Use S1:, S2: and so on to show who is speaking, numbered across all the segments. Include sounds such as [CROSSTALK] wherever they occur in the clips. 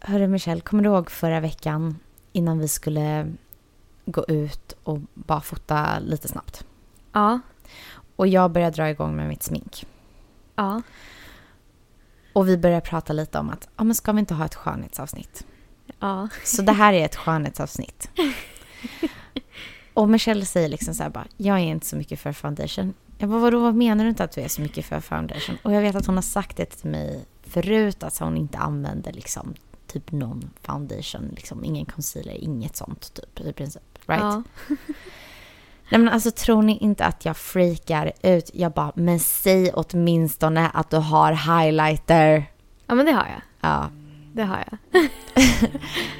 S1: Hörru Michelle, kommer du ihåg förra veckan innan vi skulle gå ut och bara fota lite snabbt?
S2: Ja.
S1: Och jag började dra igång med mitt smink.
S2: Ja.
S1: Och vi började prata lite om att, ja men ska vi inte ha ett skönhetsavsnitt?
S2: Ja.
S1: Så det här är ett skönhetsavsnitt. Och Michelle säger liksom så här bara, jag är inte så mycket för foundation. Jag bara, vadå, vad menar du inte att du är så mycket för foundation? Och jag vet att hon har sagt det till mig förut, att hon inte använder liksom typ någon foundation, liksom ingen concealer, inget sånt typ i princip. Right?
S2: Ja.
S1: Nej men alltså tror ni inte att jag freakar ut? Jag bara, men säg åtminstone att du har highlighter.
S2: ja, men det har jag.
S1: Ja. [LAUGHS]
S2: Det har jag.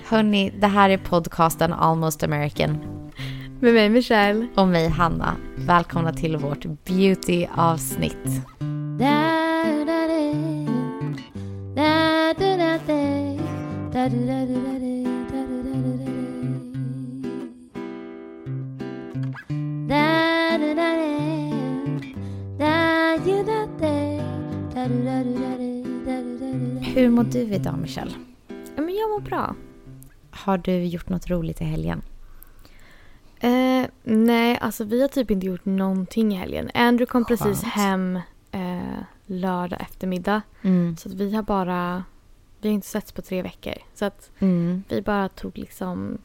S1: Hörni, det här är podcasten Almost American
S2: Med mig Michelle.
S1: och mig Hanna. Välkomna till vårt beauty-avsnitt. Hur mår du idag Michelle?
S2: Ja, men jag mår bra.
S1: Har du gjort något roligt i helgen?
S2: Eh, nej, alltså vi har typ inte gjort någonting i helgen. Andrew kom precis
S1: Skönt.
S2: hem eh, lördag eftermiddag.
S1: Mm.
S2: Så att vi har bara... Vi har inte setts på tre veckor. Så att
S1: Mm.
S2: vi bara tog liksom...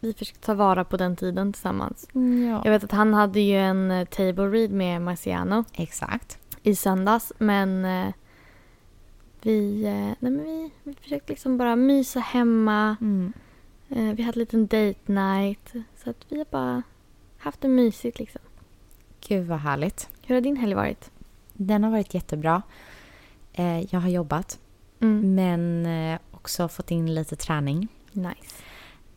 S2: Vi försökte ta vara på den tiden tillsammans.
S1: Ja.
S2: Jag vet att han hade ju en eh, table read med Marciano.
S1: Exakt.
S2: i söndags. Men eh, vi, eh, nej, men vi, vi försökte liksom bara mysa hemma.
S1: Mm.
S2: Eh, vi hade en liten date night. Så att vi har bara haft det mysigt liksom.
S1: Gud vad härligt.
S2: Hur har din helg varit?
S1: Den har varit jättebra. Eh, jag har jobbat
S2: Mm.
S1: men eh, också fått in lite träning.
S2: Nice.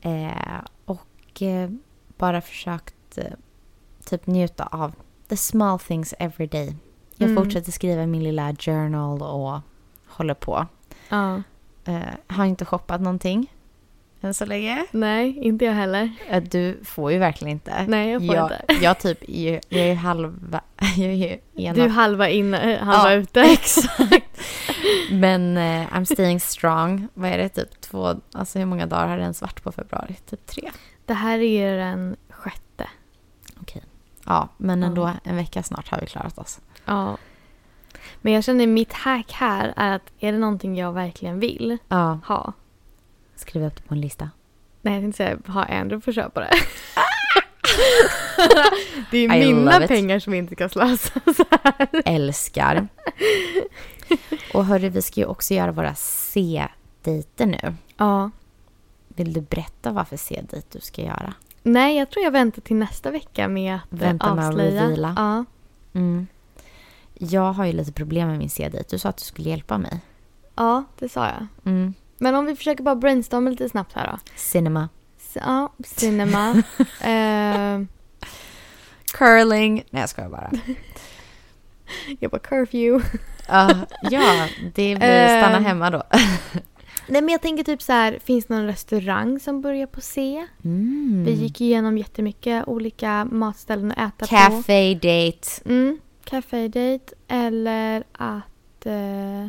S1: Eh, och eh, bara försökt eh, typ njuta av the small things every day. Jag
S2: Mm.
S1: fortsätter skriva min lilla journal och håller på.
S2: Ja.
S1: Eh, har inte shoppat någonting än så länge.
S2: Nej, inte jag heller.
S1: Eh, du får ju verkligen inte.
S2: Nej, jag får
S1: jag,
S2: inte.
S1: jag typ är ju, jag är ju halva... [LAUGHS] Jag är ju ena
S2: Du är halva in, eh, halva
S1: Ja,
S2: [LAUGHS]
S1: [LAUGHS]
S2: ute.
S1: Exakt. Men eh, I'm staying strong. Vad är det? Typ två... Alltså hur många dagar har det ens varit på februari? Typ tre?
S2: Det här är ju den sjätte.
S1: Ja, men
S2: Ja.
S1: ändå en vecka snart har vi klarat oss.
S2: Ja. Men jag känner mitt hack här är att är det någonting jag verkligen vill
S1: Ja.
S2: ha?
S1: Skriv upp det på en lista.
S2: Nej, jag tänkte säga ha Andrew får köpa [LAUGHS] det. det är
S1: I love
S2: mina
S1: it.
S2: pengar som inte ska slösas. Eh.
S1: [LAUGHS] Älskar. Och hörru, vi ska ju också göra våra C-dejter nu.
S2: Ja.
S1: Vill du berätta varför C-dejt du ska göra?
S2: Nej, jag tror jag väntar till nästa vecka med att eh,
S1: Vänta med att
S2: avslöja.
S1: reveala.
S2: Ja.
S1: Mm. Jag har ju lite problem med min C-dejt. Du sa att du skulle hjälpa mig.
S2: ja, det sa jag.
S1: Mm.
S2: Men om vi försöker bara brainstorma lite snabbt här då.
S1: Cinema.
S2: Så, ja, [LAUGHS] cinema. eh,
S1: Curling. Nej, jag skojar [LAUGHS] bara.
S2: jag bara curfew.
S1: Ja, ja, det blir
S2: Eh.
S1: stanna hemma då.
S2: Nej, men jag tänker typ så här, finns det någon restaurang som börjar på C?
S1: Mm.
S2: Vi gick igenom jättemycket olika matställen att äta på.
S1: Café date.
S2: Mm, café-date eller att... Eh,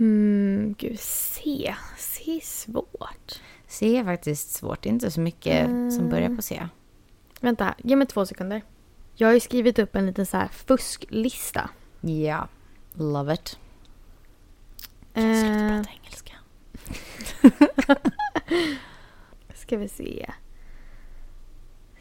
S2: mm, gud, se. Se är svårt.
S1: C är faktiskt svårt, det är inte så mycket som börjar på C.
S2: Vänta, ge mig två sekunder. Jag har ju skrivit upp en liten så här fusklista.
S1: Ja, love it.
S2: Eh,
S1: engelska.
S2: ska vi se.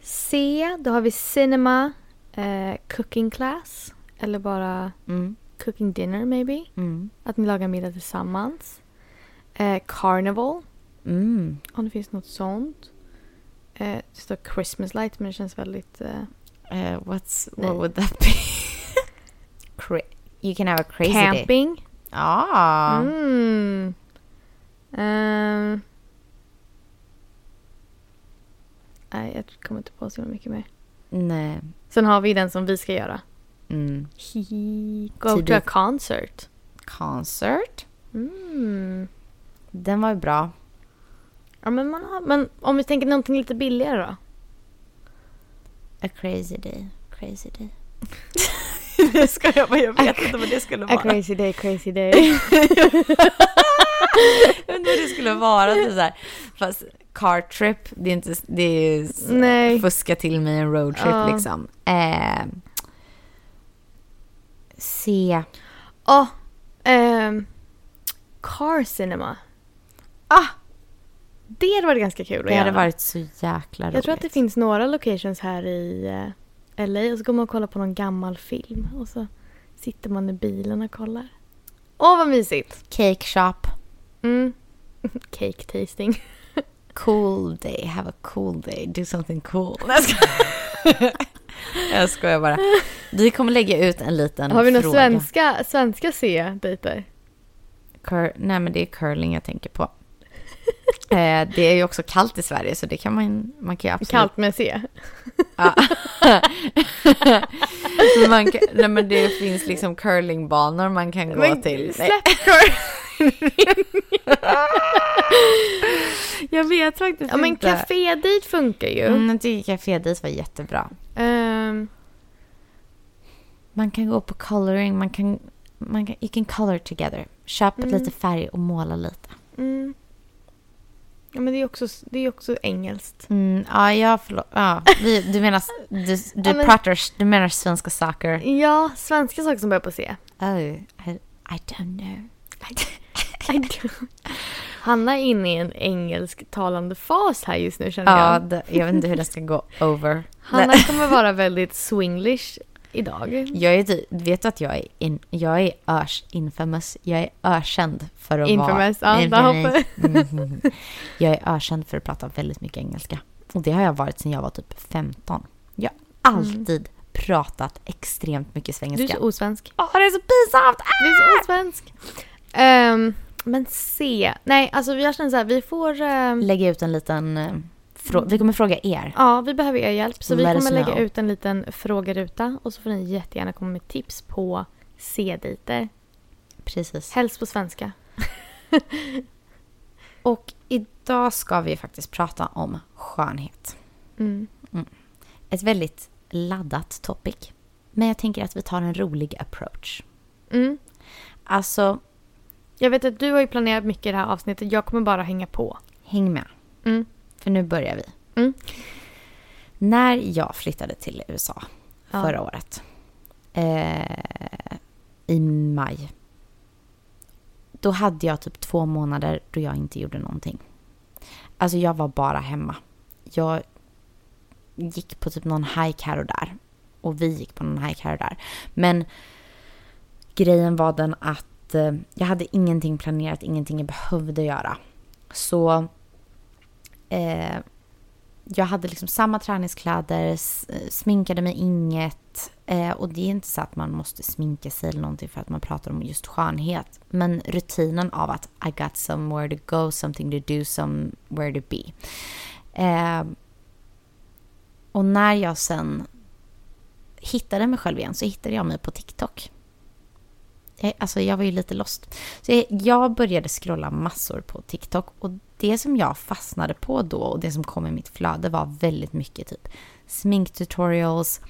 S2: C, då har vi cinema, eh, cooking class eller bara
S1: Mm,
S2: cooking dinner maybe.
S1: mm,
S2: Att ni lagar middag tillsammans. Eh, carnival.
S1: mm.
S2: Om det finns något sånt. Eh, det står Christmas light men det känns väldigt... Eh,
S1: Eh, what's,
S2: Nej.
S1: what would that be? [LAUGHS] Cra- you can have a crazy day.
S2: camping.
S1: Ah,
S2: Mm. Ehm. Nej, jag kommer inte på så mycket mer.
S1: nej.
S2: Sen har vi den som vi ska göra.
S1: Mm.
S2: Go to a
S1: Tidigt.
S2: concert.
S1: Concert.
S2: Mm.
S1: Den var ju
S2: [LAUGHS]
S1: bra.
S2: Ja, men, man har, men om vi tänker någonting lite billigare då?
S1: A crazy day. Crazy day.
S2: [LAUGHS] Det ska jag bara, jag
S1: vet inte vad det skulle
S2: A crazy day, crazy day.
S1: Jag undrar hur det skulle vara. Typ så här. Fast car trip, det är inte... Det är s-
S2: Nej.
S1: fuska till mig en roadtrip
S2: Ja.
S1: liksom. Eh, se...
S2: [LAUGHS] Ja. ehm, car cinema.
S1: Ah!
S2: Det hade varit ganska kul att
S1: Det hade
S2: göra.
S1: varit så jäkla roligt.
S2: Jag tror att det finns några locations här i eh, LA och så går man och kollar på någon gammal film och så sitter man i bilen och kollar. Åh, vad mysigt!
S1: Cake shop.
S2: Mm. [LAUGHS] Cake tasting.
S1: Cool day, have a cool day, do something
S2: [LAUGHS]
S1: cool. Nej, Jag skojar, jag skojar bara. Vi kommer lägga ut en liten
S2: Har vi några
S1: fråga.
S2: svenska, svenska C-dejter?
S1: Cur- Nej, men det är curling jag tänker på. Eh, det är ju också kallt i Sverige så det kan man, man kan ju absolut...
S2: Kallt med C.
S1: Ja. man kan, nej [LAUGHS] men det finns liksom curlingbanor man kan gå
S2: Men
S1: till. Nej.
S2: Släpp curl.
S1: [LAUGHS] Jag vet faktiskt
S2: Ja men
S1: inte.
S2: café-dejt funkar ju.
S1: Mm, jag tycker cafédejt var jättebra.
S2: Ehm,
S1: Man kan gå på coloring, man kan, man kan, you can color together. Köp
S2: Mm.
S1: lite färg och måla lite.
S2: mm. Ja men det är också, det är också engelskt.
S1: Mm, ja, jag förlåt. Ja, vi, du menar, du, du, [LAUGHS]
S2: Ja, men-
S1: pratar, du menar svenska saker.
S2: Ja, svenska saker som börjar på C.
S1: Oh, I, I don't know.
S2: Hanna är inne i en engelsktalande fas här just nu känner
S1: Ja,
S2: jag.
S1: det, jag vet inte hur det ska gå over.
S2: Hanna kommer vara väldigt swinglish idag.
S1: Jag är typ, vet du att jag är, in, jag är örs, infamous, jag är ökänd för att vara...
S2: Infamous. Ja, där hoppar jag.
S1: Mhm. Jag är ökänd för att prata väldigt mycket engelska. Och det har jag varit sedan jag var typ 15. Jag har
S2: Mm.
S1: alltid pratat extremt mycket
S2: Du är
S1: svengelska.
S2: så osvensk.
S1: Åh, det är så pinsamt! Ah!
S2: Du är så osvensk. Ehm, men C. Nej, alltså jag känner så här, vi får... ehm,
S1: Lägga ut en liten... eh, Frå- vi kommer fråga er.
S2: Ja, vi behöver er hjälp. Så vi
S1: Let us
S2: kommer lägga
S1: know.
S2: ut en liten frågeruta och så får ni jättegärna komma med tips på C-dejter.
S1: Precis.
S2: Helst på svenska.
S1: Och idag ska vi faktiskt prata om skönhet.
S2: Mm.
S1: Ett väldigt laddat topic. Men jag tänker att vi tar en rolig approach.
S2: Mm.
S1: Alltså,
S2: Jag vet att du har ju planerat mycket i det här avsnittet. Jag kommer bara hänga på.
S1: häng med.
S2: Mm.
S1: För nu börjar vi.
S2: Mm.
S1: När jag flyttade till USA
S2: Ja.
S1: förra året. Eh, I maj. Då hade jag typ två månader då jag inte gjorde någonting. Alltså jag var bara hemma. Jag gick på typ någon hike här och där. Och vi gick på någon hike här och där. Men grejen var den att eh, jag hade ingenting planerat, ingenting jag behövde göra. Så eh, jag hade liksom samma träningskläder, s- eh, sminkade mig inget. Eh, och det är inte så att man måste sminka sig eller någonting för att man pratar om just skönhet. Men rutinen av att I got somewhere to go, something to do, somewhere to be. Eh, och när jag sen hittade mig själv igen så hittade jag mig på TikTok. Eh, Alltså jag var ju lite lost. Så jag- jag började scrolla massor på TikTok och det som jag fastnade på då och det som kom i mitt flöde var väldigt mycket typ sminktutorials,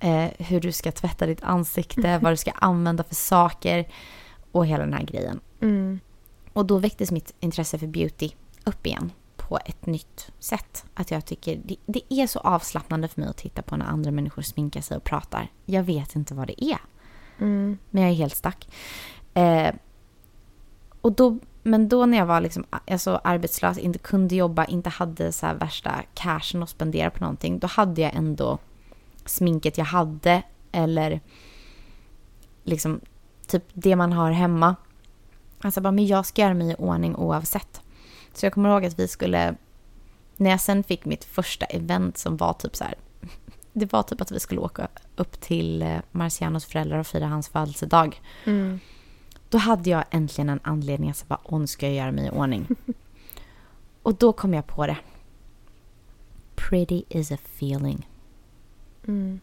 S1: eh, hur du ska tvätta ditt ansikte, vad du ska använda för saker och hela den här grejen.
S2: Mm.
S1: Och då väcktes mitt intresse för beauty upp igen på ett nytt sätt. Att jag tycker det, det är så avslappnande för mig att titta på när andra människor sminkar sig och pratar. Jag vet inte vad det är.
S2: Mm.
S1: Men jag är helt stack. Eh, och då, men då när jag var liksom, alltså, arbetslös, inte kunde jobba, inte hade så här värsta cashen att spendera på någonting. Då hade jag ändå sminket jag hade eller liksom typ det man har hemma. Alltså bara, men jag ska göra mig i ordning oavsett. Så jag kommer ihåg att vi skulle, när jag sen fick mitt första event som var typ så här, [LAUGHS] det var typ att vi skulle åka upp till eh, Marcianos föräldrar och fira hans födelsedag.
S2: Mm.
S1: Då hade jag äntligen en anledning att säga bara, åh nu ska jag göra mig i ordning. och då kom jag på det. Pretty is a feeling.
S2: Mm.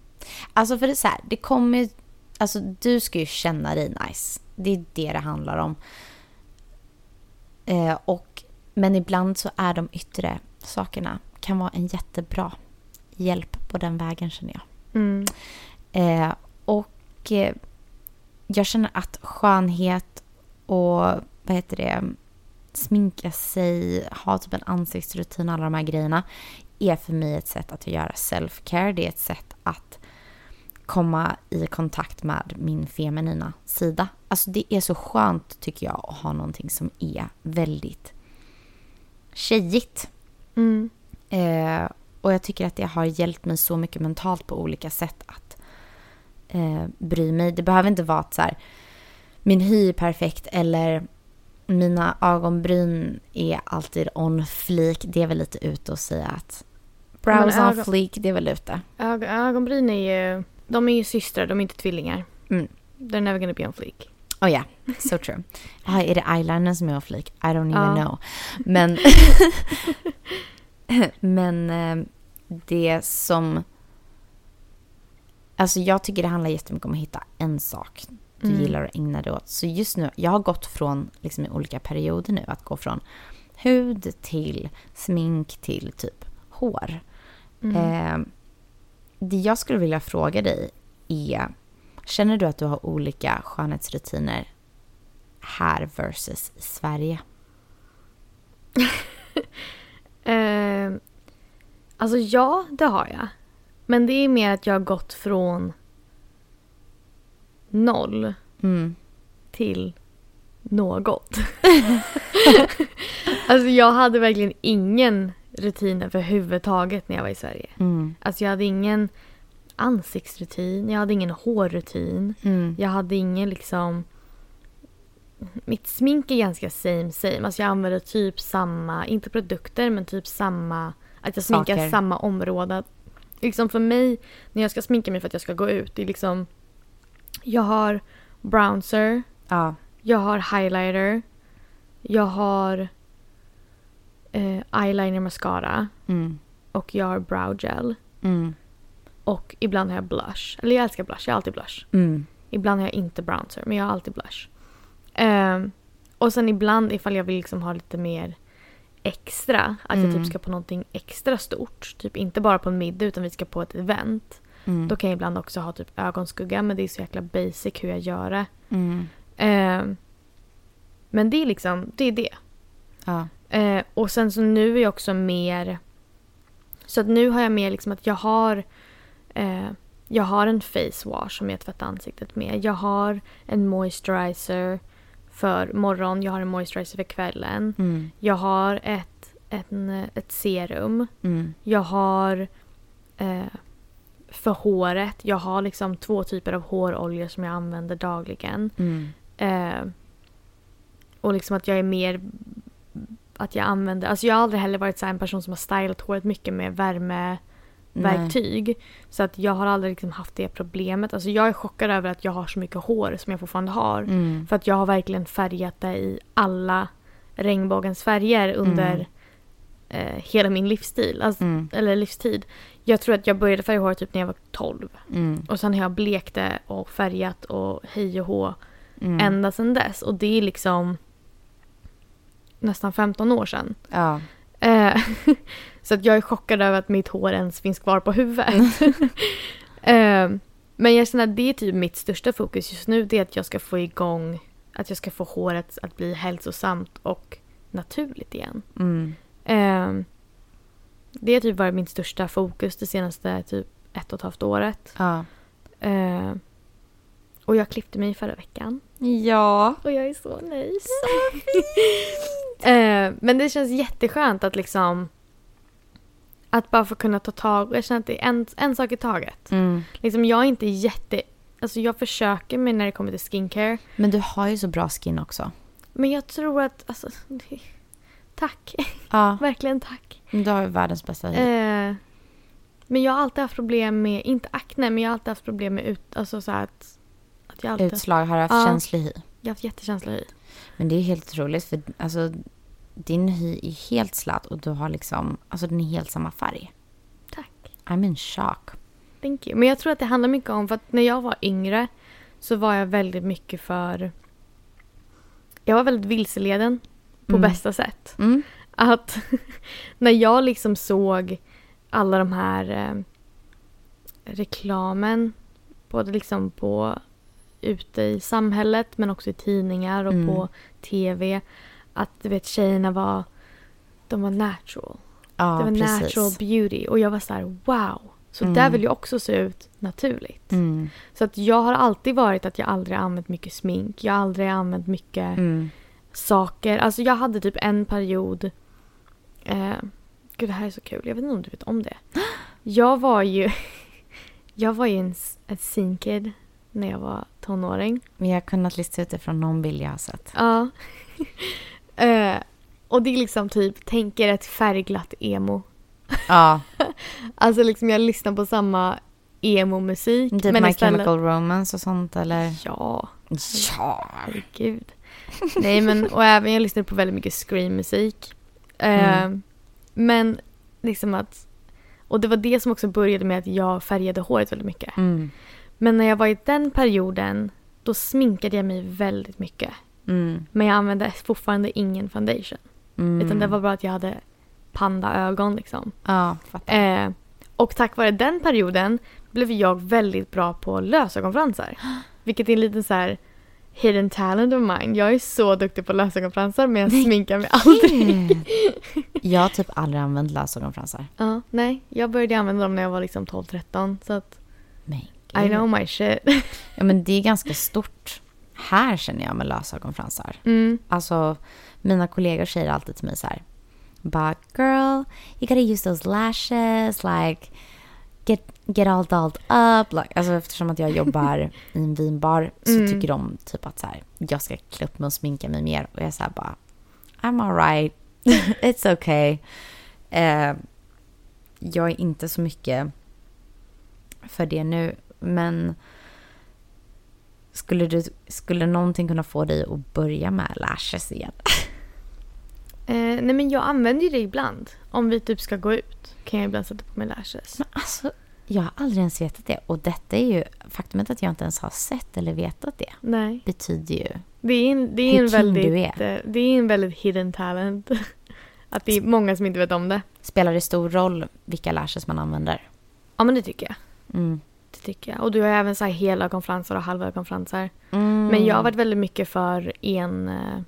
S1: Alltså för det är så här, det kommer ju- Alltså du ska ju känna dig nice. Det är det det handlar om. Eh, och, men ibland så är de yttre sakerna kan vara en jättebra hjälp på den vägen känner jag.
S2: Mm.
S1: Eh, och eh, jag känner att skönhet och vad heter det, sminka sig, ha typ en ansiktsrutin, alla de här grejerna är för mig ett sätt att göra self-care. Det är ett sätt att komma i kontakt med min feminina sida. Alltså det är så skönt tycker jag att ha någonting som är väldigt tjejigt.
S2: Mm.
S1: Eh, och jag tycker att det har hjälpt mig så mycket mentalt på olika sätt att eh, bry mig. Det behöver inte vara att så här, min hy är perfekt eller mina ögonbryn är alltid on fleek. Det är väl lite ute att säga att brows
S2: Men
S1: on
S2: ögon-
S1: fleek, det är väl ute.
S2: Ög- ögonbryn är ju... De är ju systrar, de är inte tvillingar.
S1: Mm.
S2: They're never gonna be on fleek.
S1: Oh yeah, so true. Ah, är det eyeliner som är on fleek? I don't even
S2: Ja.
S1: know. Men, [LAUGHS] men eh, det som... Alltså jag tycker det handlar jättemycket om att hitta en sak du
S2: Mm.
S1: gillar att ägna dig åt. Så just nu, jag har gått från liksom i olika perioder nu att gå från hud till smink till typ hår.
S2: Mm.
S1: Eh, det jag skulle vilja fråga dig är, känner du att du har olika skönhetsrutiner här versus i Sverige?
S2: Eh, alltså ja, det har jag. Men det är mer att jag har gått från noll
S1: Mm.
S2: till något. alltså jag hade verkligen ingen rutin överhuvudtaget när jag var i Sverige.
S1: Mm.
S2: Alltså jag hade ingen ansiktsrutin, jag hade ingen hårrutin.
S1: Mm.
S2: Jag hade ingen liksom... Mitt smink är ganska same same. Alltså jag använder typ samma, inte produkter men typ samma... Att jag sminkar
S1: Saker.
S2: samma område. Liksom för mig, när jag ska sminka mig för att jag ska gå ut, det är liksom... Jag har bronzer,
S1: Ja.
S2: jag har highlighter, jag har eh, eyeliner mascara
S1: Mm.
S2: och jag har brow gel.
S1: Mm.
S2: Och ibland har jag blush. Eller jag älskar blush, jag har alltid blush.
S1: Mm.
S2: Ibland har jag inte bronzer, men jag har alltid blush. Ehm, och sen ibland ifall jag vill liksom ha lite mer extra, att jag
S1: Mm.
S2: typ ska på någonting extra stort, typ inte bara på en middag utan vi ska på ett event,
S1: Mm.
S2: då kan jag ibland också ha typ ögonskugga men det är så jäkla basic hur jag gör det.
S1: Mm.
S2: Ehm, men det är liksom, det är det.
S1: Ja.
S2: Eh, och sen så nu är jag också mer... Så att nu har jag mer liksom att jag har... Eh, jag har en face wash som jag tvättar ansiktet med. Jag har en moisturizer för morgon. Jag har en moisturizer för kvällen.
S1: Mm.
S2: Jag har ett, en, eh, ett serum.
S1: Mm.
S2: Jag har... Eh, för håret. Jag har liksom två typer av hårolja som jag använder dagligen.
S1: Mm.
S2: Eh, och liksom att jag är mer... Att jag använder... Alltså jag har aldrig heller varit så här en person som har stylat håret mycket med värmeverktyg.
S1: Nej.
S2: Så att jag har aldrig liksom haft det problemet. Alltså jag är chockad över att jag har så mycket hår som jag fortfarande har.
S1: Mm.
S2: För att jag har verkligen färgat det i alla regnbågens färger under
S1: Mm.
S2: eh, hela min livsstil. Alltså,
S1: Mm.
S2: Eller livstid. Jag tror att jag började färga håret typ när jag var 12.
S1: Mm.
S2: Och sen har jag blekt det och färgat och hej och hå
S1: Mm.
S2: ända sedan dess. Och det är liksom nästan 15 år sedan.
S1: Ja.
S2: Eh, [LAUGHS] så att jag är chockad över att mitt hår ens finns kvar på huvudet. eh, men jag känner att det är typ mitt största fokus just nu. Det är att jag ska få igång, att jag ska få håret att bli hälsosamt och naturligt igen.
S1: Mm.
S2: Eh, det har typ varit mitt största fokus det senaste typ ett och ett halvt året.
S1: Ja.
S2: Eh, och jag klippte mig förra veckan.
S1: Ja.
S2: Och jag är så nöjd. [LAUGHS] eh, men det känns jätteskönt att liksom att bara få kunna ta tag jag känner att det är en, en sak i taget.
S1: Mm.
S2: Liksom jag är inte jätte, alltså jag försöker mig när det kommer till skincare.
S1: Men du har ju så bra skin också.
S2: Men jag tror att, alltså, det, tack, [LAUGHS]
S1: Ja.
S2: verkligen tack.
S1: Du har ju världens bästa hy.
S2: Eh, men jag har alltid haft problem med, inte akne, men jag har alltid haft problem med ut, alltså så här att, att jag alltid,
S1: Utslag. Har du haft
S2: Ja.
S1: känslig hy?
S2: jag har haft jättekänsla i.
S1: Men det är helt otroligt för alltså, din hy är helt slät och du har liksom, alltså den är helt samma färg.
S2: Tack.
S1: I'm in shock.
S2: Thank you. Men jag tror att det handlar mycket om, för att när jag var yngre så var jag väldigt mycket för... Jag var väldigt vilseleden på
S1: Mm.
S2: bästa sätt.
S1: Mm.
S2: Att [LAUGHS] när jag liksom såg alla de här eh, reklamen, både liksom på ute i samhället men också i tidningar och
S1: Mm.
S2: på tv. att du vet tjejerna var, de var natural.
S1: Ja,
S2: det var
S1: precis.
S2: natural beauty och jag var så här wow. Så
S1: Mm.
S2: där vill jag också se ut naturligt.
S1: Mm.
S2: Så att jag har alltid varit att jag aldrig har använt mycket smink. Jag har aldrig använt mycket
S1: Mm.
S2: saker. Alltså jag hade typ en period. Eh, gud det här är så kul. Jag vet inte om du vet om det. Jag var ju. [LAUGHS] jag var ju en, s- en scene kid när jag var tonåring.
S1: Men jag har kunnat lista ut det från någon bild jag har sett.
S2: Ja. [LAUGHS] eh, och det är liksom typ, tänker ett färgglatt emo. [LAUGHS]
S1: Ja,
S2: Alltså liksom jag lyssnar på samma emo-musik.
S1: typ My Chemical Romance och sånt eller?
S2: Ja,
S1: Ja.
S2: herregud. Nej men, och även jag lyssnar på väldigt mycket scream-musik. Eh,
S1: Mm.
S2: Men liksom att, och det var det som också började med att jag färgade håret väldigt mycket.
S1: Mm.
S2: Men när jag var i den perioden, då sminkade jag mig väldigt mycket.
S1: Mm.
S2: Men jag använde fortfarande ingen foundation.
S1: Mm.
S2: Utan det var bara att jag hade pandaögon liksom.
S1: Ja,
S2: [LAUGHS]
S1: fattar.
S2: Eh, och tack vare den perioden blev jag väldigt bra på [GASPS] lösögonfransar. Vilket är en liten så här hidden talent of mine. Jag är så duktig på lösögonfransar men jag
S1: Nej,
S2: sminkar mig aldrig. [LAUGHS]
S1: Jag har typ aldrig använt lösögonfransar.
S2: Ja, nej, jag började använda dem när jag var liksom 12-13 så att
S1: Men
S2: I
S1: gud.
S2: know my shit. [LAUGHS]
S1: Ja, men det är ganska stort. Här känner jag med lösögonfransar.
S2: Mm.
S1: Alltså, mina kollegor säger alltid till mig så här. Bara, girl, you gotta use those lashes, like get, get all dolled up. Like, alltså eftersom att jag jobbar i en vinbar så
S2: Mm.
S1: tycker de typ att så här, jag ska klä upp mig och sminka mig mer. Och jag är så här bara, I'm alright, it's okay. Eh, jag är inte så mycket för det nu, men skulle, du, skulle någonting kunna få dig att börja med lashes igen?
S2: Eh, nej men jag använder ju det ibland. Om vi typ ska gå ut kan jag ibland sätta på mig lashes.
S1: Men alltså, jag har aldrig ens vetat det. Och detta är ju, faktumet att jag inte ens har sett eller vetat det
S2: Nej.
S1: betyder ju...
S2: Det är en, det
S1: Hur
S2: är en
S1: king
S2: väldigt,
S1: du
S2: eh, det är en väldigt hidden talent. [LAUGHS] Att det är många som inte vet om det.
S1: Spelar det stor roll vilka lashes man använder?
S2: Ja men det tycker jag.
S1: Mm.
S2: Det tycker jag. Och du har även så här helögonfransar och halvögonfransar.
S1: Mm.
S2: Men jag har varit väldigt mycket för en... eh,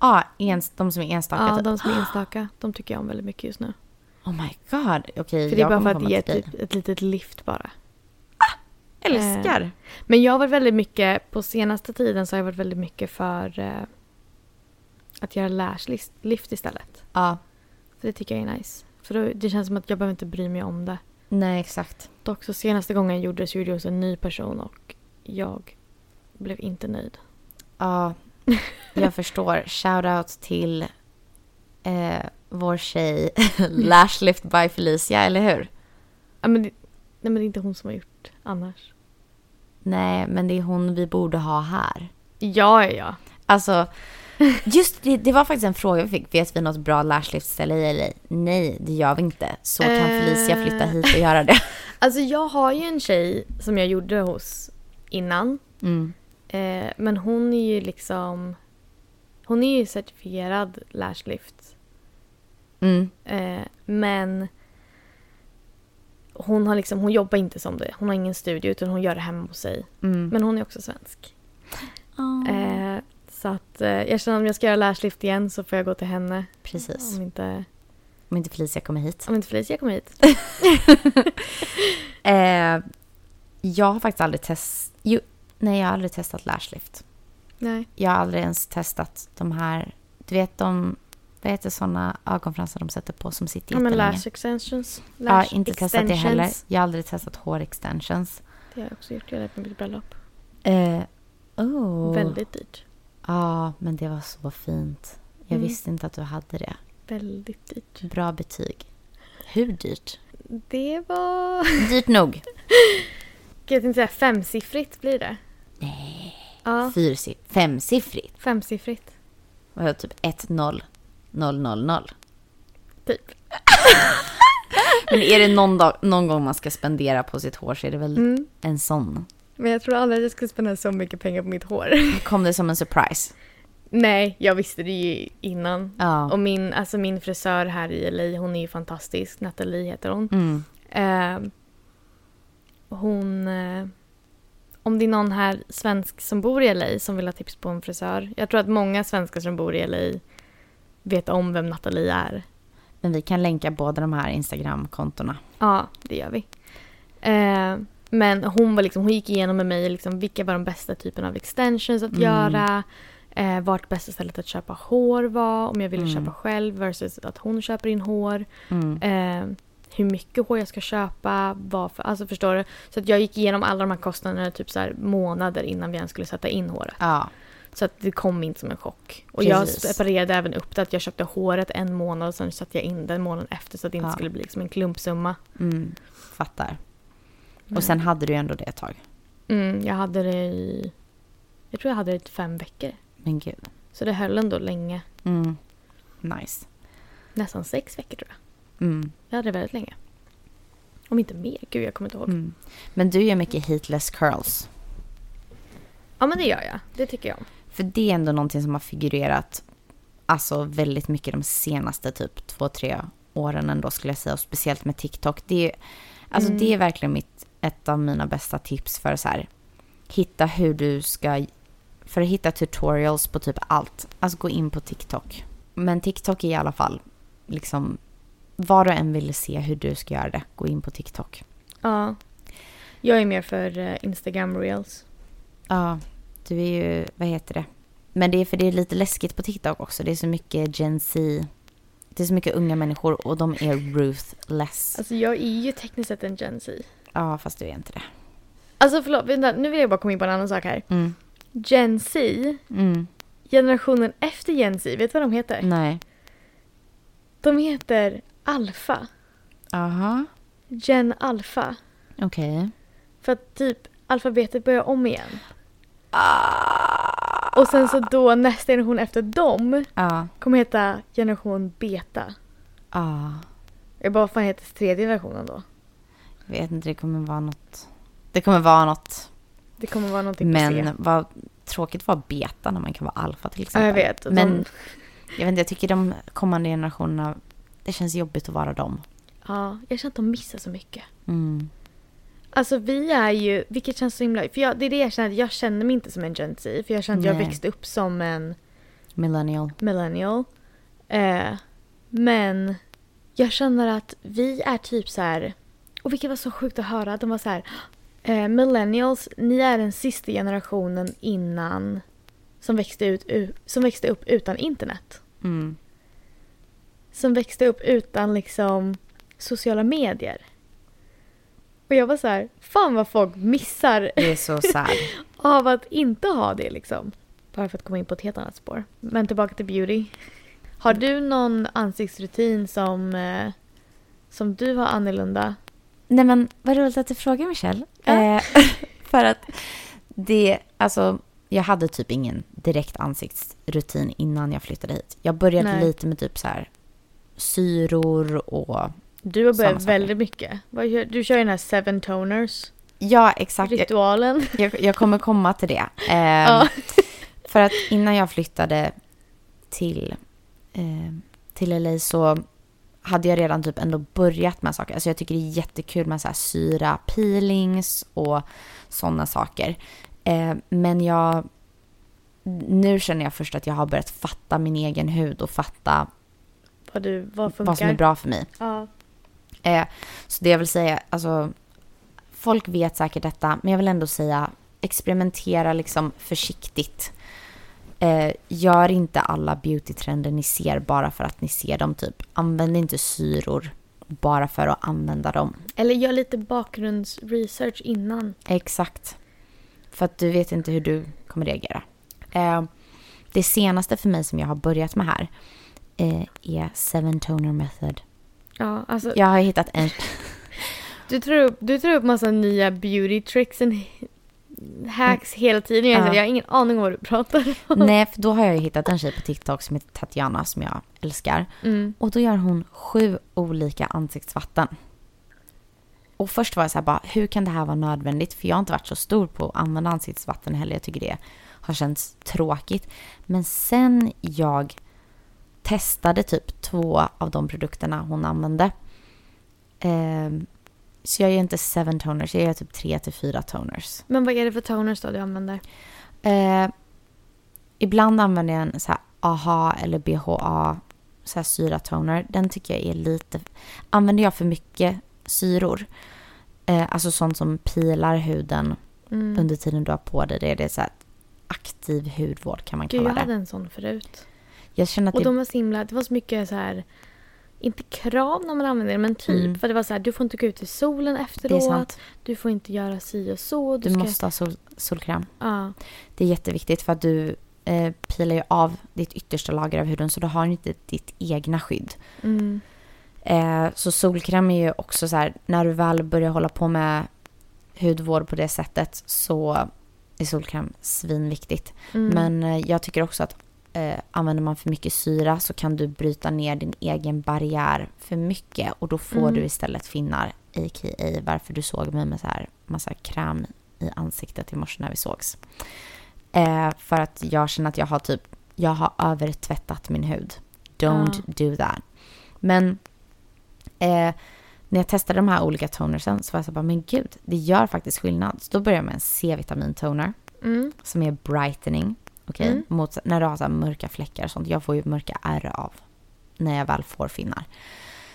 S1: Ja, ens, de som är enstaka
S2: Ja,
S1: typ. [GASPS]
S2: de som är enstaka. De tycker jag om väldigt mycket just nu.
S1: Oh my god. Okej,
S2: För det är
S1: jag
S2: bara för
S1: kommer
S2: att
S1: komma
S2: ge
S1: till dig.
S2: typ ett litet lyft bara.
S1: Älskar!
S2: Men jag har varit väldigt mycket, på senaste tiden så har jag varit väldigt mycket för eh, att göra lash list- lift istället.
S1: Ja,
S2: För det tycker jag är nice. För då, det känns som att jag behöver inte bry mig om det.
S1: nej exakt.
S2: Dock så senaste gången jag gjorde det så gjorde jag hos en ny person och jag blev inte nöjd. [LAUGHS]
S1: Ja, jag förstår. Shoutout till eh, vår tjej [LAUGHS] Lashlift by Felicia, eller hur?
S2: Ja, men det, nej men det är inte hon som har gjort annars.
S1: Nej, men det är hon vi borde ha här.
S2: Ja, ja, ja.
S1: Alltså, just det, det var faktiskt en fråga vi fick. Vet vi något bra lashliftställe i LA? Nej, det gör vi inte. Så kan
S2: Eh.
S1: Felicia flytta hit och göra det.
S2: Alltså jag har ju en tjej som jag gjorde hos innan.
S1: Mm.
S2: Eh, men hon är ju liksom... Hon är ju certifierad lashlift.
S1: Mm.
S2: Eh, men hon, har liksom, hon jobbar inte som det. Hon har ingen studio utan hon gör det hemma hos sig.
S1: Mm.
S2: Men hon är också svensk.
S1: Eh,
S2: Eh, så att eh, jag känner om jag ska göra lashlift igen så får jag gå till henne.
S1: Precis.
S2: Om inte,
S1: Om inte Felicia kommer hit.
S2: om inte Felicia kommer hit.
S1: Eh, jag har faktiskt aldrig testat... Jo, nej, jag har aldrig testat lashlift.
S2: Nej.
S1: Jag har aldrig ens testat de här... Du vet de... Vad heter såna ögonfransar de sätter på som sitter
S2: Ja, men
S1: jättelänge?
S2: lash extensions.
S1: jag har
S2: Lash
S1: inte testat det heller.
S2: extensions.
S1: Jag har aldrig testat hårextensions.
S2: Det har jag också gjort. Jag lät mig bli bröllop.
S1: Eh, oh.
S2: Väldigt dyrt.
S1: Ja, men det var så fint. Jag
S2: Mm.
S1: visste inte att du hade det.
S2: Väldigt dyrt.
S1: Bra betyg. Hur dyrt?
S2: Det var...
S1: Dyrt nog.
S2: Gud, Jag tänkte säga femsiffrigt blir det. Nej. Ja,
S1: Fyrsif- femsiffrigt.
S2: femsiffrigt.
S1: Var jag typ 1 0 0 0 0.
S2: Typ.
S1: [LAUGHS] Men är det någon, dag, någon gång man ska spendera på sitt hår så är det väl
S2: Mm.
S1: en sån.
S2: Men jag tror aldrig att jag skulle spendera så mycket pengar på mitt hår. [LAUGHS]
S1: Kom det som en surprise?
S2: Nej, jag visste det ju innan.
S1: Ja.
S2: Och min, alltså min frisör här i LA, hon är ju fantastisk. Nathalie heter Eh, hon.
S1: Mm.
S2: Eh, hon, eh, om det är någon här svensk som bor i LA som vill ha tips på en frisör. Jag tror att många svenskar som bor i LA vet om vem Nathalie är.
S1: Men vi kan länka båda de här Instagram-kontona.
S2: Ja, det gör vi. Eh, men hon, var liksom, hon gick igenom med mig liksom, vilka var de bästa typerna av extensions att
S1: Mm.
S2: göra. Eh, vart bästa stället att köpa hår var, om jag ville
S1: Mm.
S2: köpa själv versus att hon köper in hår.
S1: Mm.
S2: Eh, hur mycket hår jag ska köpa, vad för, alltså förstår du? Så att jag gick igenom alla de här kostnaderna typ så här månader innan vi ens skulle sätta in håret.
S1: Ja,
S2: Så att det kom inte som en chock. Och
S1: Precis.
S2: jag separerade även upp det att jag köpte håret en månad och sen satte jag in den månaden efter så att det inte
S1: Ja.
S2: skulle bli liksom en klumpsumma.
S1: mm. fattar.
S2: Men-
S1: Och sen hade du ju ändå det ett tag.
S2: Mm, jag hade det i... Jag tror jag hade det i fem veckor.
S1: Men gud.
S2: Så det höll ändå länge.
S1: Mm. Nice.
S2: Nästan sex veckor tror jag.
S1: Mm.
S2: Jag hade det väldigt länge. Om inte mer. Gud, jag kommer inte ihåg.
S1: Mm. Men du gör mycket heatless curls.
S2: Ja, men det gör jag. Det tycker jag om.
S1: För det är ändå någonting som har figurerat alltså väldigt mycket de senaste typ två, tre åren ändå skulle jag säga. Och speciellt med TikTok. Det är, alltså
S2: Mm.
S1: det är verkligen mitt, ett av mina bästa tips för så här hitta hur du ska, för att hitta tutorials på typ allt. Alltså gå in på TikTok. Men TikTok är i alla fall liksom, vad du än vill se hur du ska göra det, gå in på TikTok.
S2: Ja. Jag är mer för eh, Instagram reels.
S1: Ja, du är ju, vad heter det? Men det är för det är lite läskigt på TikTok också. Det är så mycket Gen Z. Det är så mycket unga människor och de är ruthless.
S2: Alltså jag är ju tekniskt sett en Gen Z.
S1: Ja, fast du är inte det.
S2: Alltså förlåt, vänta, nu vill jag bara komma in på en annan sak här.
S1: Mm.
S2: Gen Z,
S1: Mm.
S2: generationen efter Gen Z, vet du vad de heter?
S1: Nej.
S2: De heter Alfa.
S1: Aha.
S2: Gen Alfa.
S1: Okej.
S2: För att typ alfabetet börjar om igen.
S1: Ah.
S2: Och sen så då nästa generation efter dem
S1: Ja.
S2: kommer heta generation Beta.
S1: Ja.
S2: Jag bara, vad fan heter tredje versionen då?
S1: Jag vet inte, det kommer vara något. Det kommer vara något.
S2: Det kommer vara någonting på C.
S1: Men vad tråkigt att vara beta när man kan vara alfa till
S2: Ja,
S1: exempel.
S2: jag vet. De,
S1: Men jag vet inte, jag tycker de kommande generationerna, det känns jobbigt att vara dem.
S2: Ja, jag känner att de missar så mycket.
S1: Mm.
S2: Alltså vi är ju, vilket känns så himla, för jag, det är det jag känner, jag känner mig inte som en Gen Z. För jag känner att jag
S1: Nej.
S2: växte upp som en
S1: Millennial.
S2: millennial. Eh, men jag känner att vi är typ så här, och vilket var så sjukt att höra, de var så här, eh, millennials, ni är den sista generationen innan som växte, ut, u- som växte upp utan internet.
S1: Mm.
S2: Som växte upp utan liksom sociala medier. Och jag var så här, fan vad folk missar
S1: Det är så sad.
S2: av att inte ha det liksom. Bara för att komma in på ett helt annat spår. Men tillbaka till beauty. Har du någon ansiktsrutin som, eh, som du har annorlunda?
S1: [LAUGHS] Nej men vad roligt att du frågar Michelle.
S2: Ja.
S1: Eh, [LAUGHS] för att det, alltså jag hade typ ingen direkt ansiktsrutin innan jag flyttade hit. Jag började
S2: Nej.
S1: lite med typ så här syror och
S2: Du har
S1: Samma
S2: börjat
S1: saker.
S2: väldigt mycket. Vad gör- Du kör ju den här seven toners
S1: Ja, exakt. Jag,
S2: ritualen. [LAUGHS]
S1: jag, jag kommer komma till det. Eh,
S2: Ja. [LAUGHS]
S1: För att innan jag flyttade till, eh, till LA så hade jag redan typ ändå börjat med saker. Alltså jag tycker det är jättekul med så här syra peelings och sådana saker. Eh, men jag... Nu känner jag först att jag har börjat fatta min egen hud och fatta
S2: Vad, du, vad funkar.
S1: vad som är bra för mig.
S2: Ja.
S1: Eh, så det jag vill säga, alltså folk vet säkert detta, men jag vill ändå säga experimentera liksom försiktigt. Eh, gör inte alla beautytrender ni ser bara för att ni ser dem typ. Använd inte syror bara för att använda dem.
S2: Eller gör lite bakgrundsresearch innan.
S1: Exakt. För att du vet inte hur du kommer reagera. Eh, det senaste för mig som jag har börjat med här eh, är Seven Toner Method.
S2: Ja, alltså,
S1: Jag har hittat en
S2: Du, tror upp, du tror upp massa nya beauty tricks and hacks hela tiden. Jag, är så här,
S1: Ja.
S2: jag har ingen aning om vad du pratar om.
S1: Nej, för då har jag ju hittat en tjej på TikTok som heter Tatiana som jag älskar.
S2: Mm.
S1: Och då gör hon sju olika ansiktsvatten. Och först var jag så här bara, hur kan det här vara nödvändigt? För jag har inte varit så stor på att använda ansiktsvatten heller. Jag tycker det har känts tråkigt. Men sen jag testade typ två av de produkterna hon använde. Eh, Så jag gör inte seven toners, jag gör typ tre till fyra toners.
S2: Men vad är det för toners då du använder?
S1: Eh, ibland använder jag en så här AHA eller BHA så här syratoner. Den tycker jag är lite... Använder jag för mycket syror, eh, alltså sånt som pilar huden
S2: Mm.
S1: under tiden du har på dig det, det är så här aktiv hudvård kan man
S2: Gud, jag
S1: kalla
S2: hade
S1: det.
S2: en sån förut.
S1: Jag känner att
S2: Och
S1: det...
S2: de var så himla, det var så mycket så här inte krav när man använder det, men typ.
S1: Mm.
S2: För det var så här, du får inte gå ut i solen efteråt.
S1: Det är sant.
S2: Du får inte göra si och så.
S1: Du
S2: ska,
S1: måste ha sol, solkräm.
S2: Ja,
S1: Det är jätteviktigt för att du eh, pilar ju av ditt yttersta lager av huden så du har ju inte ditt egna skydd.
S2: mm,
S1: Eh, så solkräm är ju också så här, när du väl börjar hålla på med hudvård på det sättet så är solkräm svinviktigt.
S2: mm.
S1: Men eh, jag tycker också att eh, använder man för mycket syra så kan du bryta ner din egen barriär för mycket och då får
S2: Mm.
S1: du istället finnar, a.k.a. varför du såg mig med så här massa kräm i ansiktet i morse när vi sågs. Eh, för att jag känner att jag har typ, jag har övertvättat min hud. Don't do that. Men eh, när jag testade de här olika tonersen så var jag så här bara, men gud, det gör faktiskt skillnad. Så då började jag med en C-vitamintoner
S2: Mm.
S1: som är brightening. Okej?
S2: Mm.
S1: Mot, när du har så här mörka fläckar och sånt. Jag får ju mörka ärr av när jag väl får finnar.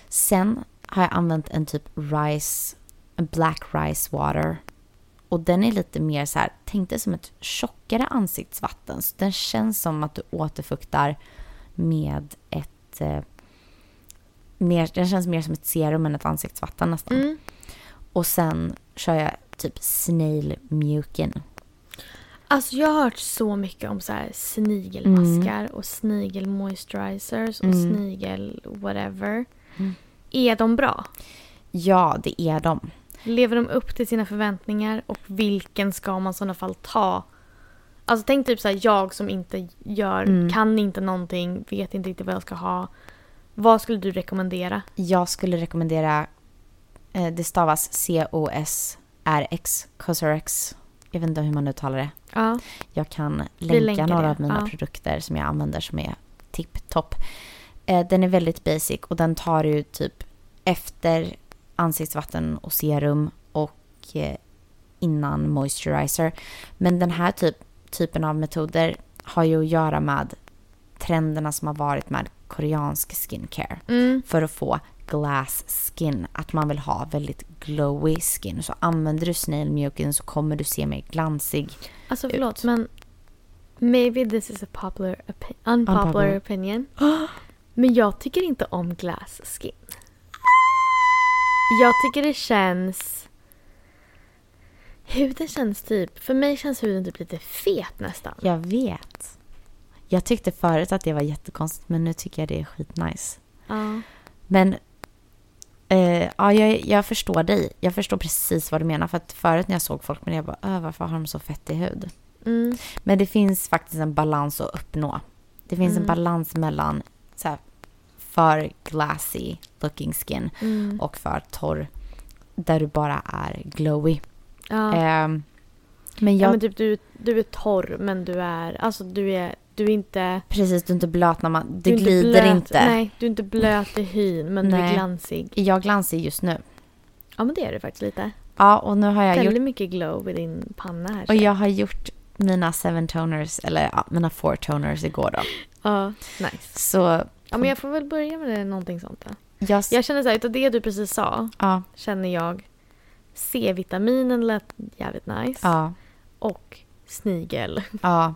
S1: Sen har jag använt en typ rice, en black rice water. Och den är lite mer så här, tänk dig som ett tjockare ansiktsvatten. Så den känns som att du återfuktar med ett... Eh, mer, den känns mer som ett serum än ett ansiktsvatten nästan.
S2: Mm.
S1: Och sen kör jag typ snail mucin.
S2: Alltså jag har hört så mycket om så här snigelmaskar och snigelmoisturizers och
S1: Mm.
S2: snigel whatever.
S1: Mm.
S2: Är de bra?
S1: Ja, det är de.
S2: Lever de upp till sina förväntningar och vilken ska man i sådana fall ta? Alltså tänk typ så här, jag som inte gör,
S1: Mm.
S2: kan inte någonting, vet inte riktigt vad jag ska ha. Vad skulle du rekommendera?
S1: Jag skulle rekommendera, eh, det stavas C-O-S-R-X, Cosrx. Jag vet inte hur man uttalar det.
S2: Ja.
S1: Jag kan
S2: länkar
S1: länka
S2: det,
S1: några av mina
S2: ja.
S1: produkter som jag använder som är tipptopp. Eh, den är väldigt basic och den tar du typ efter ansiktsvatten och serum och eh, innan moisturizer. Men den här typ, typen av metoder har ju att göra med trenderna som har varit med koreansk skincare
S2: Mm.
S1: för att få glass skin. Att man vill ha väldigt glowy skin. Så använder du snail mucin så kommer du se mer glansig.
S2: Alltså
S1: Ut.
S2: förlåt men maybe this is a popular opi- unpopular
S1: Unpopular.
S2: [GASPS] opinion. Men jag tycker inte om glass skin. Jag tycker det känns... Huden känns typ... För mig känns huden typ lite fet nästan.
S1: Jag vet. Jag tyckte förut att det var jättekonstigt men nu tycker jag det är skitnice.
S2: Ja.
S1: Men eh, ja, jag, jag förstår dig. Jag förstår precis vad du menar. För att förut när jag såg folk med det, jag bara "Öh, varför har de så fettig hud?
S2: Mm.
S1: Men det finns faktiskt en balans att uppnå. Det finns
S2: Mm.
S1: en balans mellan så här, för glassy looking skin
S2: Mm.
S1: och för torr. Där du bara är glowy.
S2: ja.
S1: Ehm, men jag,
S2: ja men typ du, du är torr men du är... Alltså du är, du är inte...
S1: precis, du är inte blöt när man,
S2: du
S1: du
S2: är inte
S1: glider
S2: blöt-
S1: inte.
S2: Nej, du är inte blöt i hyn men du är
S1: Nej.
S2: glansig.
S1: Jag glansar just nu.
S2: Ja men det är du faktiskt lite.
S1: Ja, och nu har jag gjort,
S2: Väldigt mycket glow i din panna här.
S1: och jag har gjort mina seven toners, eller ja, mina four toners igår då.
S2: Ja, nice.
S1: Så
S2: Ja, men jag får väl börja med det, någonting sånt då.
S1: jag,
S2: Jag känner så här, utav det du precis sa
S1: ja,
S2: känner jag C-vitaminen lät jävligt nice
S1: ja,
S2: och snigel.
S1: ja,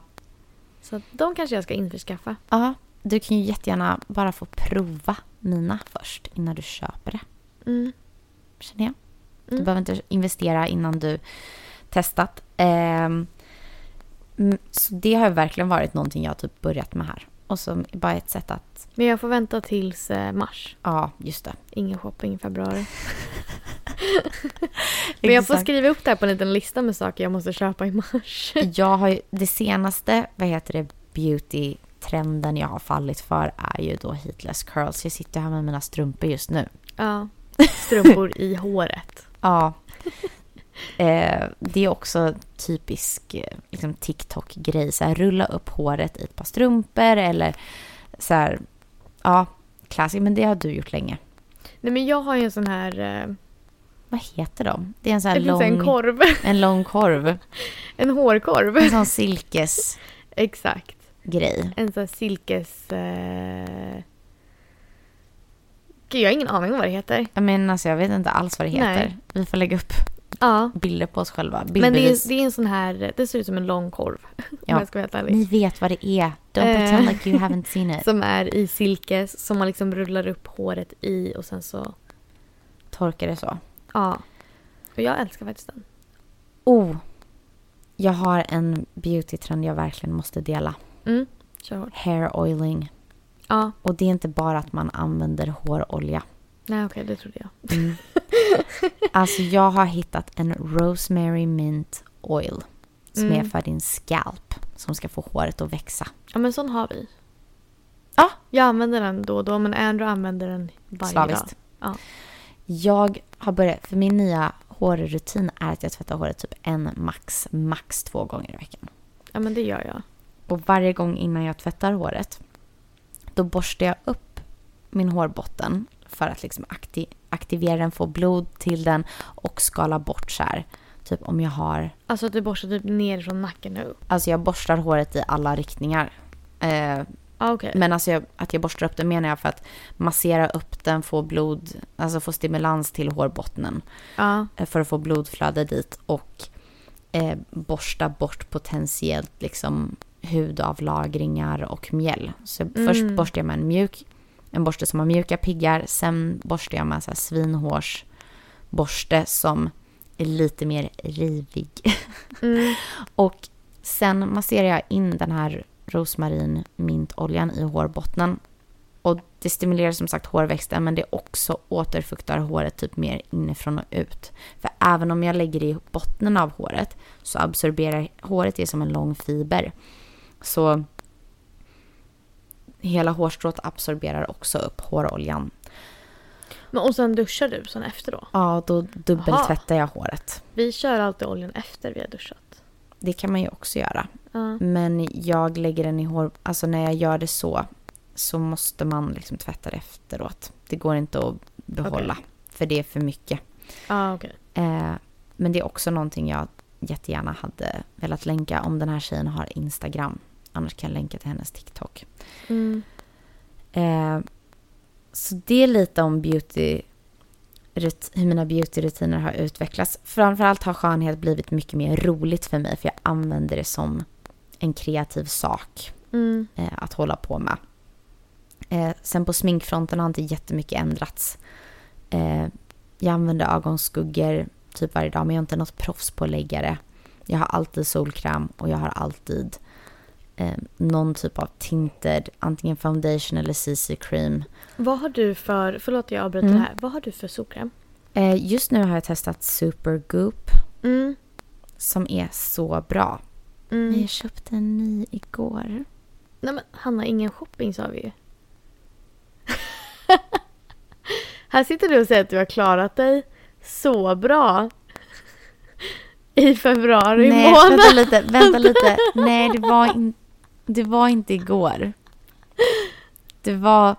S2: Så att de kanske jag ska införskaffa.
S1: ja. Du kan ju jättegärna bara få prova mina först innan du köper det,
S2: Mm.
S1: känner jag. Du
S2: Mm.
S1: behöver inte investera innan du testat. Ehm, mm, så det har verkligen varit någonting jag typ börjat med här. Och som bara ett sätt att,
S2: Men jag får vänta tills eh, mars.
S1: ja, just det.
S2: [LAUGHS] Ingen shopping i [LAUGHS] februari. Men jag får
S1: Exakt.
S2: skriva upp det här på en liten lista med saker jag måste köpa i mars.
S1: Jag har ju, det senaste, vad heter det, beauty-trenden jag har fallit för är ju då heatless curls. Jag sitter här med mina strumpor just nu.
S2: [LAUGHS] Ja. Strumpor i håret.
S1: Ja. [LAUGHS] Eh, det är också typisk eh, liksom, TikTok-grej. Så här, rulla upp håret i ett par strumpor eller så här, ja, classic. Men det har du gjort länge.
S2: Nej men jag har ju en sån här... eh,
S1: Vad Vad heter de? Det är en sån här
S2: det finns en
S1: lång,
S2: korv.
S1: [LAUGHS]
S2: [LAUGHS]
S1: en lång korv.
S2: En hårkorv. [LAUGHS]
S1: En sån silkesgrej.
S2: Exakt. En sån här silkes... Eh... Gud, jag har ingen aning om vad det heter.
S1: Jag menar, alltså, jag vet inte alls vad det heter.
S2: Nej.
S1: Vi får lägga upp
S2: Ja.
S1: bilder på oss själva.
S2: Men det
S1: Bildbevis.
S2: är, det är en sån här... Det ser ut som en lång korv. [LAUGHS] Om
S1: Ja.
S2: jag ska vara helt ärlig.
S1: Ni vet vad det är. Don't
S2: Eh.
S1: pretend like you haven't seen
S2: [LAUGHS]
S1: it.
S2: Som är i silkes, som man liksom rullar upp håret i och sen så...
S1: Torka det så.
S2: Ja. Och jag älskar faktiskt den.
S1: Oh! Jag har en beauty-trend jag verkligen måste dela.
S2: Mm. Kör hårt.
S1: Hair oiling.
S2: Ja.
S1: Och det är inte bara att man använder hårolja.
S2: Nej, okej, det trodde jag. [LAUGHS]
S1: Mm. alltså jag har hittat en Rosemary Mint Oil. Som
S2: Mm.
S1: är för din scalp. Som ska få håret att växa.
S2: Ja, men sån har vi.
S1: Ja.
S2: Jag använder den då och då, men Andrew använder den varje dag.
S1: Slaviskt.
S2: Ja.
S1: Jag har börjat, för min nya hårrutin är att jag tvättar håret typ en max, max två gånger i veckan.
S2: Ja, men det gör jag.
S1: Och varje gång innan jag tvättar håret, då borstar jag upp min hårbotten för att liksom akti- aktivera den, få blod till den och skala bort så här. Typ om jag har
S2: Alltså att du borstar typ ner från nacken och upp.
S1: Alltså jag borstar håret i alla riktningar. Eh,
S2: Ja, okej.
S1: men alltså jag, att jag borstar upp det menar jag för att massera upp den, få blod, alltså få stimulans till hårbottnen
S2: Ja.
S1: eh, för att få blodflöde dit och eh, borsta bort potentiellt liksom hudavlagringar och mjäll. Så först
S2: Mm.
S1: borstar jag med en mjuk, en borste som har mjuka piggar, sen borstar jag med så här svinhårsborste som är lite mer rivig.
S2: Mm.
S1: Och sen masserar jag in den här rosmarin mintoljan i hårbottnen. Och det stimulerar som sagt hårväxten men det också återfuktar håret typ mer inifrån och ut. För även om jag lägger det i botten av håret så absorberar håret det som en lång fiber. Så hela hårstrået absorberar också upp håroljan.
S2: Men, och sen duschar du sen efter då?
S1: Ja, då dubbeltvättar jag håret.
S2: Vi kör alltid oljan efter vi har duschat.
S1: Det kan man ju också göra.
S2: Ja.
S1: Men jag lägger den i hår... Alltså när jag gör det så, så måste man liksom tvätta det efteråt. Det går inte att behålla, för det är för mycket.
S2: Ja, okej.
S1: Eh, men det är också någonting jag jättegärna hade velat länka om den här tjejen har Instagram. Annars kan jag länka till hennes TikTok.
S2: Mm.
S1: Eh, så det är lite om beauty, rut- hur mina beautyrutiner har utvecklats. Framförallt har skönhet blivit mycket mer roligt för mig för jag använder det som en kreativ sak
S2: Mm.
S1: eh, att hålla på med. Eh, sen på sminkfronten har inte jättemycket ändrats. Eh, jag använder ögonskuggor typ varje dag men jag är inte något proffs på att lägga det. Jag har alltid solkräm och jag har alltid eh, någon typ av tinted, antingen foundation eller CC-cream.
S2: Vad har du för, förlåt jag avbryter
S1: Mm.
S2: här, vad har du för solkräm?
S1: Eh, just nu har jag testat Super Goop
S2: Mm.
S1: som är så bra. Men
S2: Mm.
S1: Jag köpte en ny igår.
S2: Nej men Hanna, ingen shopping sa [LAUGHS] vi ju. här sitter du och säger att du har klarat dig så bra. I februari
S1: Nej,
S2: månad.
S1: vänta lite, vänta lite. Nej, det var, in, det var inte igår. Det var,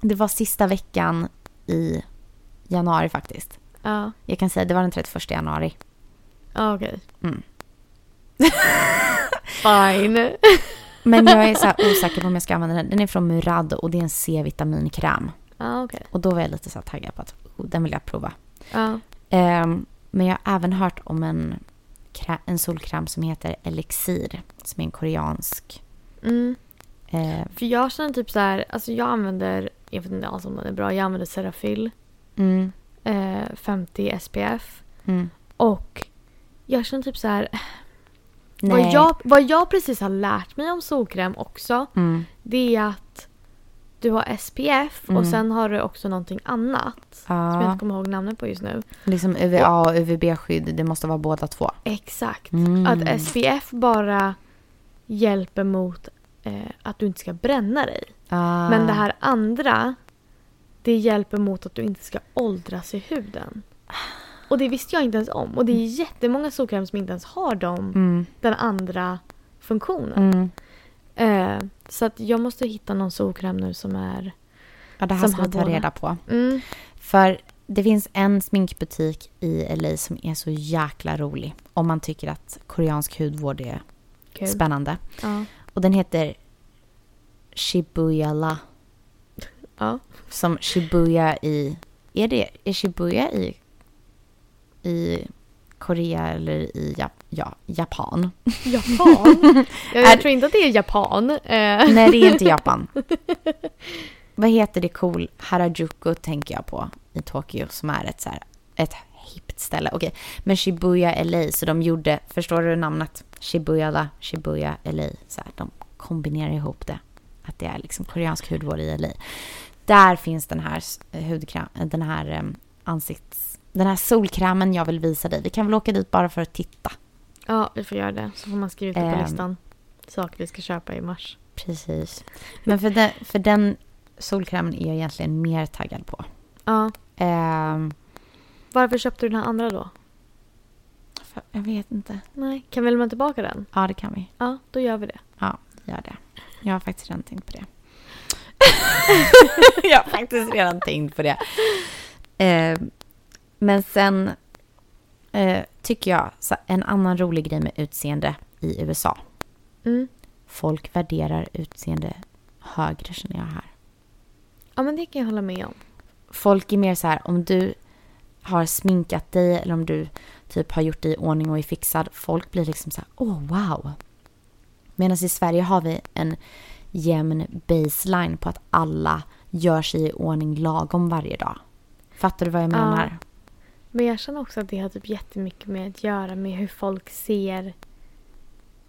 S1: det var sista veckan i januari faktiskt.
S2: Ja,
S1: Jag kan säga det var den 31 januari.
S2: ja okej.
S1: Mm.
S2: [LAUGHS] Fine.
S1: Men jag är så här osäker på om jag ska använda den. Den är från Murad och det är en C-vitaminkräm.
S2: Ja, okej.
S1: Och då var jag lite så här taggad på att oh, den vill jag prova.
S2: Ja.
S1: Ehm, men jag har även hört om en, krä, en solkräm som heter Elixir. Som är en koreansk.
S2: Mm.
S1: eh,
S2: För jag känner typ så här, alltså jag använder, jag vet inte alls om den är bra, jag använder Serafil
S1: mm,
S2: eh, 50 SPF.
S1: mm.
S2: Och jag känner typ så här, vad
S1: Nej.
S2: jag, vad jag precis har lärt mig om solkräm också,
S1: Mm.
S2: det är att du har SPF
S1: Mm.
S2: och sen har du också någonting annat. Som jag
S1: Ja,
S2: inte kommer ihåg namnet på just nu.
S1: liksom UVA och UVB-skydd, det måste vara båda två.
S2: Exakt.
S1: Mm.
S2: Att SPF bara hjälper mot eh, att du inte ska bränna dig.
S1: Ah.
S2: Men det här andra, det hjälper mot att du inte ska åldras i huden. Och det visste jag inte ens om. Och det är jättemånga solkräm som inte ens har dem,
S1: Mm.
S2: den andra funktionen.
S1: Mm.
S2: Eh, så att jag måste hitta någon solkräm nu som är...
S1: Ja, det här
S2: Som
S1: ska
S2: har
S1: vi ta
S2: båda.
S1: reda på.
S2: Mm,
S1: För Det finns en sminkbutik i LA som är så jäkla rolig om man tycker att koreansk hudvård är
S2: Kul.
S1: spännande.
S2: Ja.
S1: Och den heter Shibuyala.
S2: Ja.
S1: Som Shibuya i... Är, det, är Shibuya i, i Korea eller i Jap, ja, Japan?
S2: [LAUGHS] Japan? jag,
S1: Är-
S2: jag tror inte att det är Japan. Eh,
S1: Nej, det är inte Japan. Vad heter det cool? Harajuku tänker jag på i Tokyo som är ett så här, ett hippt ställe. Okej, men Shibuya LA, så de gjorde, förstår du namnet? Shibuya la, Shibuya LA. Så här, de kombinerar ihop det. Att det är liksom koreansk hudvård i LA. Där finns den här s- hudkräm, den här em, ansikts... Den här solkrämen jag vill visa dig. Vi kan väl åka dit bara för att titta.
S2: ja, vi får göra det. Så får man skriva ut det på
S1: Ehm.
S2: listan. Saker vi ska köpa i mars.
S1: Precis. Men för den, för den solkrämen är jag egentligen mer taggad på.
S2: Ja.
S1: Ehm,
S2: Varför köpte du den här andra då?
S1: för- jag vet inte.
S2: Nej. Kan vi lämna tillbaka den?
S1: Ja, det kan vi.
S2: Ja, då gör vi det.
S1: Gör det. Jag har faktiskt redan tänkt på [LAUGHS] det. jag har faktiskt redan tänkt på det. Ehm, men sen eh, tycker jag så en annan rolig grej med utseende i USA.
S2: Mm.
S1: Folk värderar utseende högre känner jag här.
S2: Ja, men det kan jag hålla med om.
S1: folk är mer så här om du har sminkat dig eller om du typ har gjort dig i ordning och är fixad. Folk blir liksom så här, åh wow. Medan i Sverige har vi en jämn baseline på att alla gör sig i ordning lagom varje dag. Fattar du vad jag
S2: Ja.
S1: menar?
S2: Men jag känner också att det har typ jättemycket med att göra med hur folk ser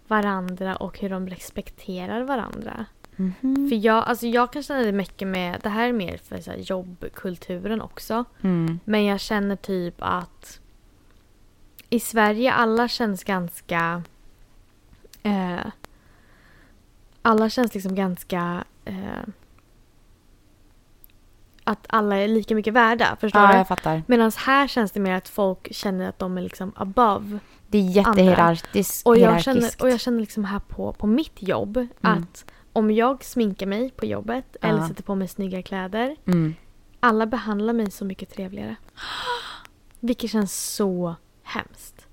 S2: varandra och hur de respekterar varandra.
S1: Mhm.
S2: För jag, alltså jag kan känna det mycket med, det här är mer för så här jobbkulturen också.
S1: Mm.
S2: Men jag känner typ att i Sverige alla känns ganska... Eh, alla känns liksom ganska... Eh, att alla är lika mycket värda, förstår
S1: Ja,
S2: du?
S1: jag fattar.
S2: Medan här känns det mer att folk känner att de är liksom above.
S1: Det är jättehierarkiskt.
S2: Och jag, känner,
S1: hierarkiskt. Mm.
S2: och jag känner liksom här på, på mitt jobb att om jag sminkar mig på jobbet eller
S1: Ja.
S2: sätter på mig snygga kläder
S1: mm.
S2: alla behandlar mig så mycket trevligare.
S1: [GASPS]
S2: Vilket känns så
S1: [GASPS]
S2: hemskt.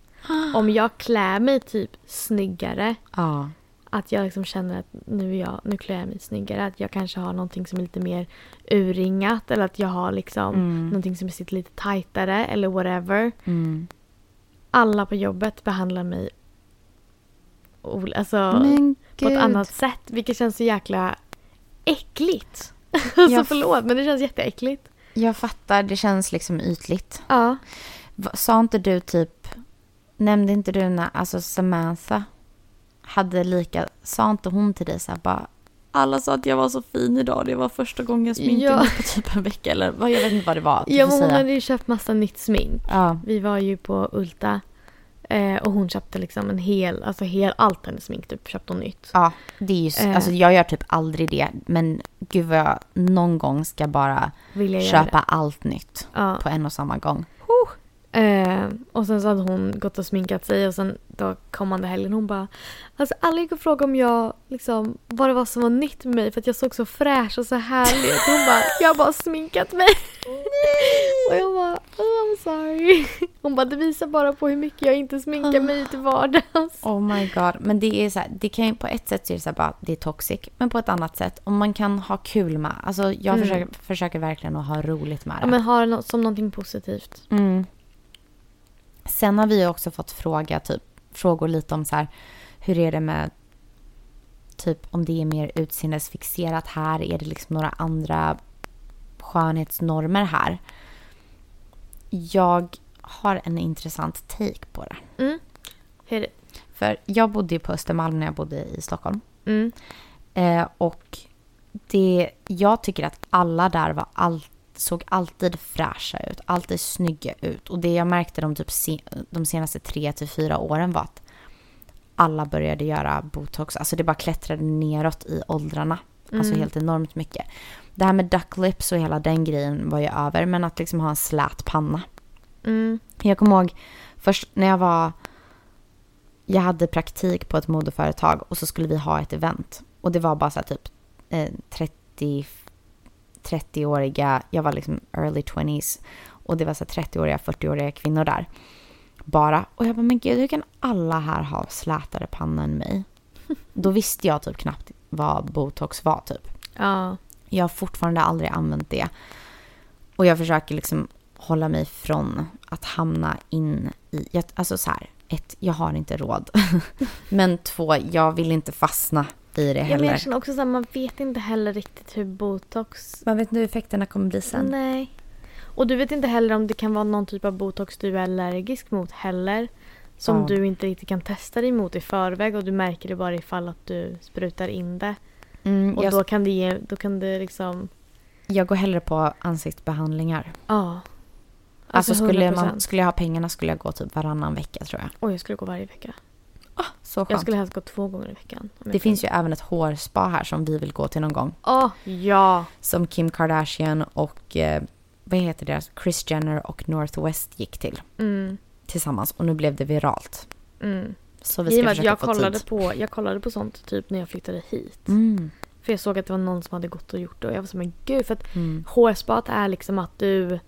S2: Om jag klär mig typ snyggare,
S1: ja.
S2: att jag liksom känner att nu, är jag, nu klär jag mig snyggare, att jag kanske har någonting som är lite mer urringat eller att jag har liksom
S1: Mm.
S2: någonting som sitter lite tajtare eller whatever.
S1: Mm.
S2: Alla på jobbet behandlar mig ol- alltså,
S1: Men
S2: på ett annat sätt, vilket känns så jäkla äckligt. alltså
S1: Jag-
S2: förlåt, men det känns jätteäckligt.
S1: Jag fattar, det känns liksom ytligt.
S2: Ja.
S1: Va- Sa inte du typ, nämnde inte du när, alltså Samantha hade lika, sa inte hon till dig så här bara alla sa att jag var så fin idag, det var första gången jag sminkade
S2: Ja.
S1: mig på typ en vecka eller vad, jag vet inte vad det var. Du
S2: Ja,
S1: får
S2: men hon
S1: säga.
S2: hade ju köpt massa nytt smink.
S1: ja.
S2: Vi var ju på Ulta eh, och hon köpte liksom en hel, alltså hel, allt hennes smink typ köpte hon nytt.
S1: ja, det är ju, s-
S2: Eh.
S1: alltså jag gör typ aldrig det, men gud vad jag någon gång ska bara
S2: Vill jag göra
S1: köpa
S2: det?
S1: allt nytt
S2: Ja.
S1: på en och samma gång.
S2: Eh, och sen så hade hon gått och sminkat sig och sen då kommande helgen hon bara Alltså alla gick och frågade om jag liksom vad det var som var nytt med mig för att jag såg så fräsch och så härlig ut. Hon bara jag har bara sminkat mig. och jag bara oh, I'm sorry. Hon bara det visar bara på hur mycket jag inte sminkar mig till vardags.
S1: Oh my god. Men det är så här, det kan ju på ett sätt så är det så här bara, det är toxic. Men på ett annat sätt, om man kan ha kul med. Alltså jag
S2: Mm.
S1: försöker, försöker verkligen att ha roligt med det.
S2: Ja, men har det nå- som någonting positivt.
S1: Mm. Sen har vi också fått fråga, typ, frågor lite om så här, hur är det med typ om det är mer utseendesfixerat här? Är det liksom några andra skönhetsnormer här? Jag har en intressant take på det.
S2: Hur är det?
S1: För jag bodde ju på Östermalm när jag bodde i Stockholm.
S2: Mm.
S1: Eh, och det, jag tycker att alla där var all, såg alltid fräscha ut, alltid snygga ut. Och det jag märkte de, typ se, de senaste tre till fyra åren var att alla började göra botox. Alltså det bara klättrade neråt i åldrarna. Alltså
S2: Mm.
S1: helt enormt mycket. Det här med duck lips och hela den grejen var ju över. Men att liksom ha en slät panna.
S2: Mm.
S1: Jag kommer ihåg först när jag var... Jag hade praktik på ett modeföretag och så skulle vi ha ett event. Och det var bara så här typ eh, 30, 30-åriga, jag var liksom early 20s. Och det var så här 30-åriga, 40-åriga kvinnor där. Bara. Och jag bara, men gud, hur kan alla här ha slätare panna än mig? Då visste jag typ knappt vad botox var typ.
S2: Ja.
S1: Jag har fortfarande aldrig använt det. Och jag försöker liksom hålla mig från att hamna in i... Jag, alltså så här, ett, jag har inte råd. [LAUGHS] men två, jag vill inte fastna i det
S2: Ja, men
S1: heller.
S2: jag känner också så här, man vet inte heller riktigt hur botox...
S1: Man vet inte hur effekterna kommer bli sen.
S2: Nej. Och du vet inte heller om det kan vara någon typ av botox du är allergisk mot heller. Som
S1: Ja.
S2: du inte riktigt kan testa dig mot i förväg och du märker det bara ifall att du sprutar in det.
S1: Mm,
S2: Och
S1: jag,
S2: då kan det ge, då kan det liksom,
S1: jag går hellre på ansiktsbehandlingar.
S2: ja.
S1: Alltså, skulle, man,
S2: 100%.
S1: skulle jag ha pengarna skulle jag gå typ varannan vecka tror jag.
S2: Oj, jag skulle gå varje vecka.
S1: Så
S2: Jag
S1: skönt.
S2: skulle helst gå två gånger i veckan. om jag
S1: Det finns ju
S2: kunde.
S1: även ett hårspa här som vi vill gå till någon gång.
S2: Åh, ja!
S1: Som Kim Kardashian och eh, vad heter deras? Chris Jenner och Northwest gick till
S2: Mm,
S1: tillsammans. Och nu blev det viralt.
S2: mm.
S1: Så vi
S2: I och
S1: ska
S2: med att
S1: försöka
S2: jag
S1: få
S2: kollade,
S1: tid.
S2: på, jag kollade på sånt typ när jag flyttade hit.
S1: Mm.
S2: För jag såg att det var någon som hade gått och gjort det och jag var så men gud för att
S1: Mm.
S2: hårspat är liksom att du,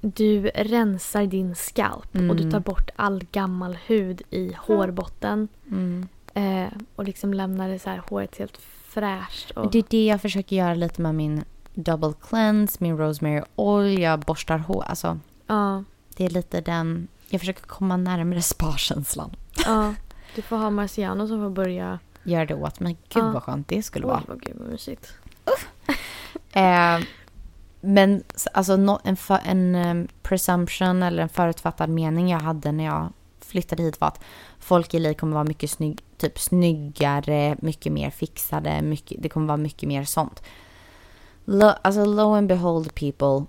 S2: du rensar din skalp och du
S1: Mm.
S2: tar bort all gammal hud i hårbotten.
S1: Mm.
S2: Eh, och liksom lämnar det så här håret helt fräscht. Och,
S1: Det är det jag försöker göra lite med min double cleanse, min rosemary oil, jag borstar hår. Alltså,
S2: ja,
S1: det är lite den... Jag försöker komma närmare spa-känslan.
S2: ja. Du får ha Marciano som får börja.
S1: Gör det åt mig. Gud
S2: Ja.
S1: vad skönt det skulle vara.
S2: Oj, vad gud vad mysigt.
S1: Eh, men s- alltså, nå- en, för, en eh, presumption eller en förutfattad mening jag hade när jag flyttade hit var att folk i Li kommer vara mycket snygg, typ snyggare, mycket mer fixade, mycket, det kommer vara mycket mer sånt. Lo, alltså lo and behold people.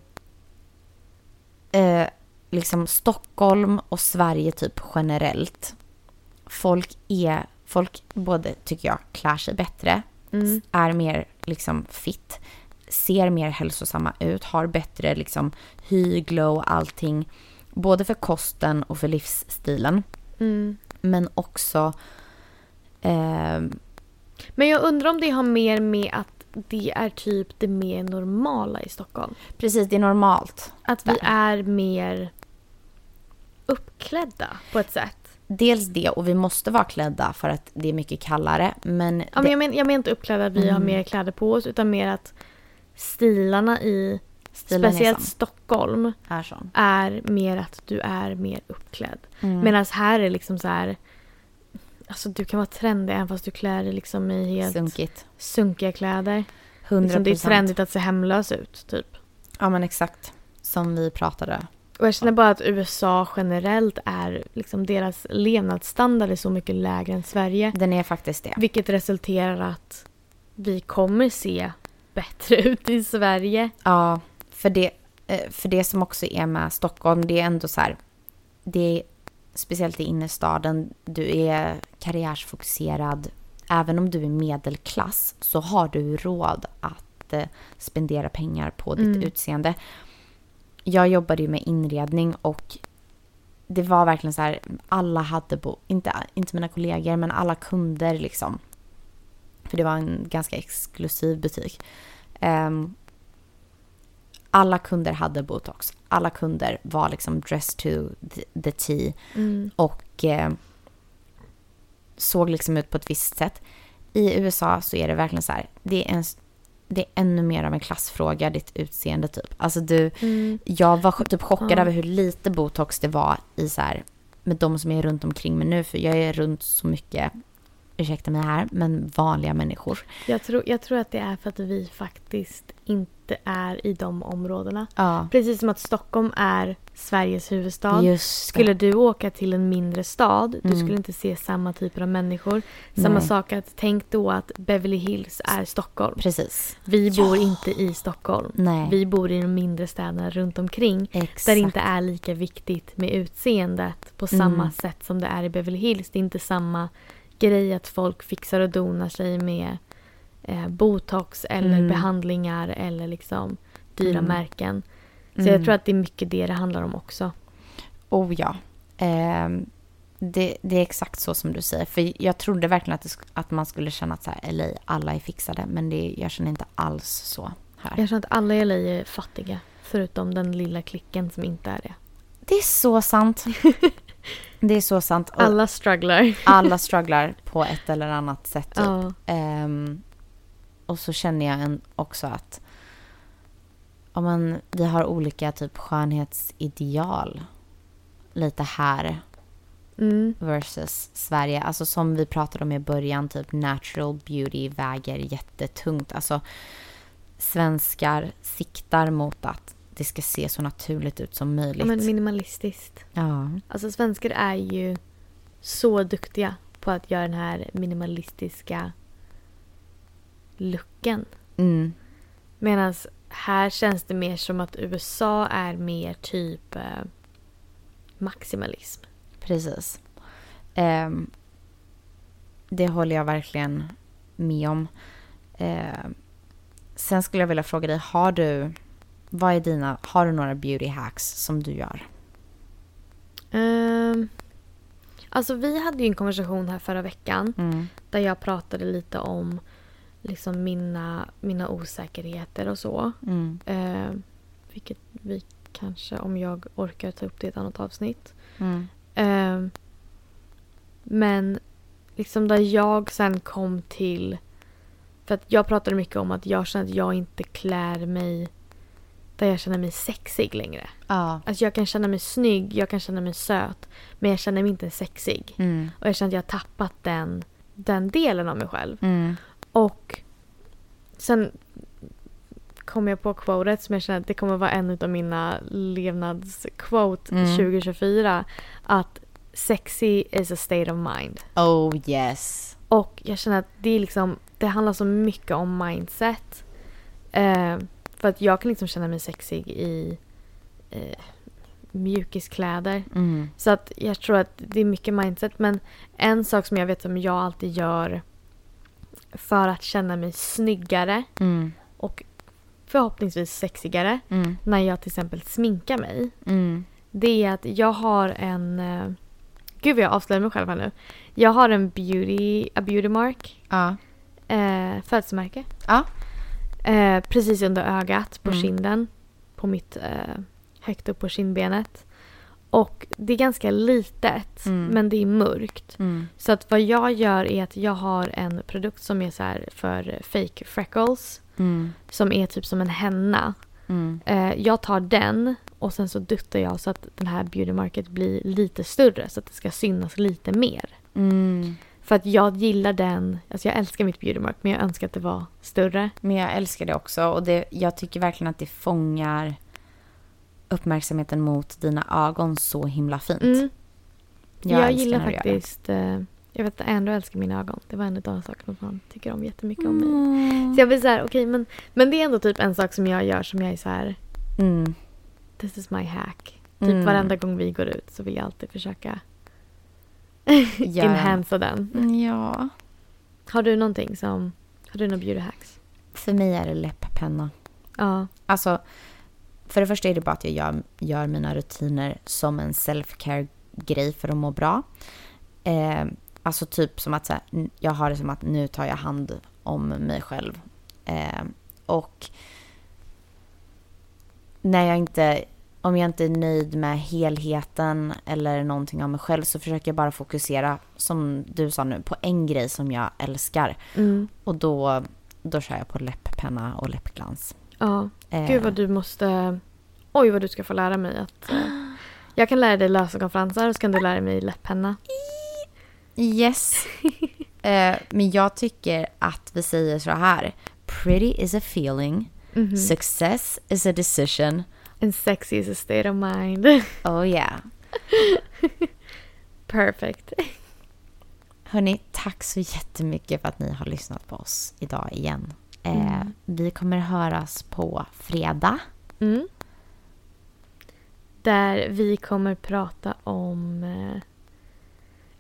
S1: Eh, liksom Stockholm och Sverige typ generellt. Folk är, folk både tycker jag klär sig bättre,
S2: Mm.
S1: är mer liksom fit, ser mer hälsosamma ut, har bättre liksom hy, glow, allting. Både för kosten och för livsstilen.
S2: Mm.
S1: Men också... Eh,
S2: Men jag undrar om det har mer med att det är typ det mer normala i Stockholm.
S1: precis, det är normalt.
S2: Att vi
S1: Där.
S2: är mer uppklädda på ett sätt.
S1: Dels det och vi måste vara klädda för att det är mycket kallare. Men,
S2: Ja, men jag, men, jag menar inte uppklädda att vi har
S1: Mm.
S2: mer kläder på oss utan mer att stilarna i
S1: det- stilen
S2: speciellt
S1: är sån.
S2: Stockholm
S1: Är sån.
S2: är mer att du är mer uppklädd.
S1: Mm.
S2: Medan här är liksom så här Alltså du kan vara trendig även fast du klär dig liksom i helt
S1: Sunkigt.
S2: sunkiga kläder.
S1: 100%.
S2: Liksom, det är trendigt att se hemlös ut typ.
S1: Ja men exakt. Som vi pratade.
S2: Och jag känner bara att USA generellt är, liksom deras levnadsstandard är så mycket lägre än Sverige.
S1: Den är faktiskt det.
S2: Vilket resulterar att vi kommer se bättre [LAUGHS] ut i Sverige.
S1: Ja, för det, eh, för det som också är med Stockholm, det är ändå så här, det är speciellt i innerstaden, du är karriärsfokuserad. Även om du är medelklass så har du råd att eh, spendera pengar på ditt
S2: Mm.
S1: utseende. Jag jobbade ju med inredning och det var verkligen så här, alla hade, bo, inte, inte mina kollegor, men alla kunder liksom. För det var en ganska exklusiv butik. Ehm, alla kunder hade botox. Alla kunder var liksom dressed to the- the T
S2: Mm,
S1: och eh, såg liksom ut på ett visst sätt. I USA så är det verkligen så här, det är, en, det är ännu mer av en klassfråga, ditt utseende typ. Alltså du,
S2: mm.
S1: jag var typ chockad
S2: Ja.
S1: över hur lite botox det var i så här, med de som är runt omkring mig nu, för jag är runt så mycket, ursäkta mig här, men vanliga människor.
S2: Jag, tror, jag tror att det är för att vi faktiskt inte är i de områdena.
S1: Ja,
S2: Precis som att Stockholm är Sveriges huvudstad.
S1: just det.
S2: Skulle du åka till en mindre stad, du
S1: Mm.
S2: skulle inte se samma typer av människor. Samma
S1: Nej.
S2: sak att tänk då att Beverly Hills är Stockholm.
S1: Precis.
S2: Vi
S1: Ja.
S2: bor inte i Stockholm.
S1: Nej.
S2: Vi bor i de mindre städerna runt omkring.
S1: Exakt.
S2: Där det inte är lika viktigt med utseendet på
S1: Mm.
S2: samma sätt som det är i Beverly Hills. Det är inte samma grej att folk fixar och donar sig med eh, botox eller
S1: Mm.
S2: behandlingar eller liksom dyra
S1: Mm.
S2: märken. Så
S1: Mm.
S2: jag tror att det är mycket det det handlar om också.
S1: Oh ja. Ehm, det, det är exakt så som du säger. För jag trodde verkligen att, det, sk- att man skulle känna att så här, LA, alla är fixade. Men det, jag känner inte alls så här.
S2: Jag känner att alla i LA är fattiga. Förutom den lilla klicken som inte är det.
S1: Det är så
S2: [LAUGHS]
S1: sant. Det är så sant. Och Typ. [LAUGHS]
S2: Alla strugglar.
S1: alla strugglar på ett eller annat sätt. Typ.
S2: Ja.
S1: Ehm, och så känner jag en också att om man, vi har olika typ skönhetsideal lite här
S2: Mm.
S1: versus Sverige. Alltså som vi pratade om i början, typ natural beauty väger jättetungt. Alltså svenskar siktar mot att det ska se så naturligt ut som
S2: Ja,
S1: möjligt.
S2: Men minimalistiskt.
S1: ja.
S2: Alltså svenskar är ju så duktiga på att göra den här minimalistiska looken.
S1: Mm.
S2: Medan här känns det mer som att USA är mer typ eh, maximalism.
S1: Precis. Ehm, det håller jag verkligen med om. Ehm, sen skulle jag vilja fråga dig, har du, vad är dina, har du några beauty hacks som du gör?
S2: Ehm, alltså vi hade ju en konversation här förra veckan där jag pratade lite om liksom mina, mina osäkerheter och så.
S1: Mm.
S2: Ehm, vilket vi kanske, om jag orkar, ta upp det i ett annat avsnitt.
S1: Mm.
S2: Ehm, men liksom där jag sen kom till... För att jag pratade mycket om att jag känner att jag inte klär mig där jag känner mig sexig längre.
S1: Ja.
S2: Alltså jag kan känna mig snygg, jag kan känna mig söt, men jag känner mig inte sexig.
S1: Mm.
S2: Och jag känner att jag har tappat den, den delen av mig själv.
S1: Mm.
S2: Och sen kom jag på quotet som jag känner att det kommer vara en av mina levnadsquote
S1: Mm.
S2: 2024. Att sexy is a state of mind.
S1: Oh yes.
S2: Och jag känner att det är liksom, det handlar så mycket om mindset. Eh, för att jag kan liksom känna mig sexig i eh, mjukiskläder.
S1: Mm.
S2: Så att jag tror att det är mycket mindset. Men en sak som jag vet som jag alltid gör för att känna mig snyggare
S1: Mm.
S2: och förhoppningsvis sexigare
S1: Mm.
S2: när jag till exempel sminkar mig.
S1: Mm.
S2: Det är att jag har en... eh, Gud vad jag avslöjar mig själv här nu. Jag har en beauty, a beauty mark,
S1: Ja.
S2: eh, födelsemärke.
S1: Ja.
S2: Eh, precis under ögat, på
S1: Mm.
S2: kinden. På mitt, eh, högt upp på kindbenet. Och det är ganska litet,
S1: Mm.
S2: men det är mörkt.
S1: Mm.
S2: Så att vad jag gör är att jag har en produkt som är så här för fake freckles.
S1: Mm.
S2: Som är typ som en henna.
S1: Mm.
S2: Eh, jag tar den och sen så duttar jag så att den här beauty market blir lite större. Så att det ska synas lite mer.
S1: Mm.
S2: För att jag gillar den. Alltså jag älskar mitt beauty market men jag önskar att det var större.
S1: Men jag älskar det också och det, jag tycker verkligen att det fångar uppmärksamheten mot dina ögon så himla fint.
S2: Mm. Jag,
S1: älskar
S2: gillar
S1: när du gör det.
S2: faktiskt... Eh, jag vet att Andrew älskar mina ögon. Det var en av de sakerna som han tycker om jättemycket om mig.
S1: Mm.
S2: Så jag blir så här, okej men, men det är ändå typ en sak som jag gör som jag är så här...
S1: Mm.
S2: This is my hack. Typ
S1: Mm.
S2: varenda gång vi går ut så vill jag
S1: [LAUGHS]
S2: alltid försöka
S1: Gör den.
S2: enhancea den.
S1: Ja.
S2: Har du någonting som... Har du några beauty hacks?
S1: För mig är det läpppenna.
S2: Ja.
S1: Alltså, för det första är det bara att jag gör, gör mina rutiner som en self-care-grej för att må bra. Eh, alltså typ som att så här, n- jag har det som att nu tar jag hand om mig själv. Eh, och när jag inte, om jag inte är nöjd med helheten eller någonting av mig själv så försöker jag bara fokusera, som du sa nu, på en grej som jag älskar.
S2: Mm.
S1: Och då, då kör jag på läpppenna och läppglans.
S2: ja.
S1: Eh,
S2: Gud vad du måste... Oj vad du ska få lära mig att... eh, Jag kan lära dig lösögonfransar och så kan du lära mig läpppenna.
S1: Yes.
S2: [LAUGHS]
S1: eh, men jag tycker att vi säger så här. Pretty is a feeling.
S2: Mhm.
S1: Mm-hmm. Success is a decision.
S2: And sexy is a state of mind.
S1: Oh yeah.
S2: [LAUGHS] Perfect.
S1: Hörni, tack så jättemycket för att ni har lyssnat på oss idag igen. Eh,
S2: Mm.
S1: Vi kommer höras på fredag.
S2: Mm. Där vi kommer prata om... eh,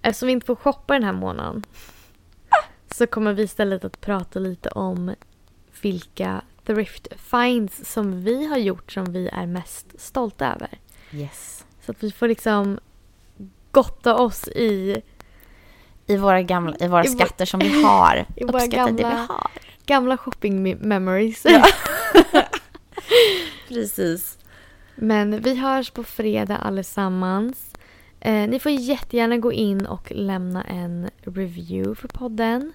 S2: Eftersom vi inte får shoppa den här månaden så kommer vi istället att prata lite om vilka thrift finds som vi har gjort som vi är mest stolta över.
S1: Yes.
S2: Så att vi får liksom gotta oss i
S1: I våra, gamla, i våra
S2: I vår-
S1: skatter som vi har.
S2: [LAUGHS] I våra
S1: Uppskatta det vi
S2: gamla-
S1: har.
S2: gamla shopping me- memories.
S1: Precis.
S2: Men vi hörs på fredag allesammans. Eh, ni får jättegärna gå in och lämna en review för podden.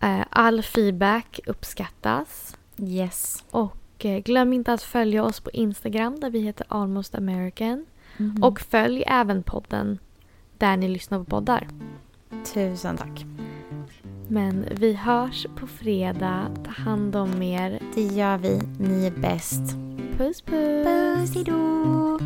S2: Eh, all feedback uppskattas.
S1: Yes.
S2: Och eh, glöm inte att följa oss på Instagram där vi heter Almost American.
S1: Mhm.
S2: Och följ även podden där ni lyssnar på poddar.
S1: tusen tack.
S2: Men vi hörs på fredag. Ta hand om er.
S1: Det gör vi. Ni är bäst.
S2: Puss puss!
S1: Puss, hejdå.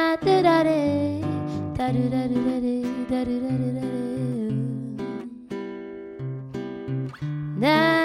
S3: Da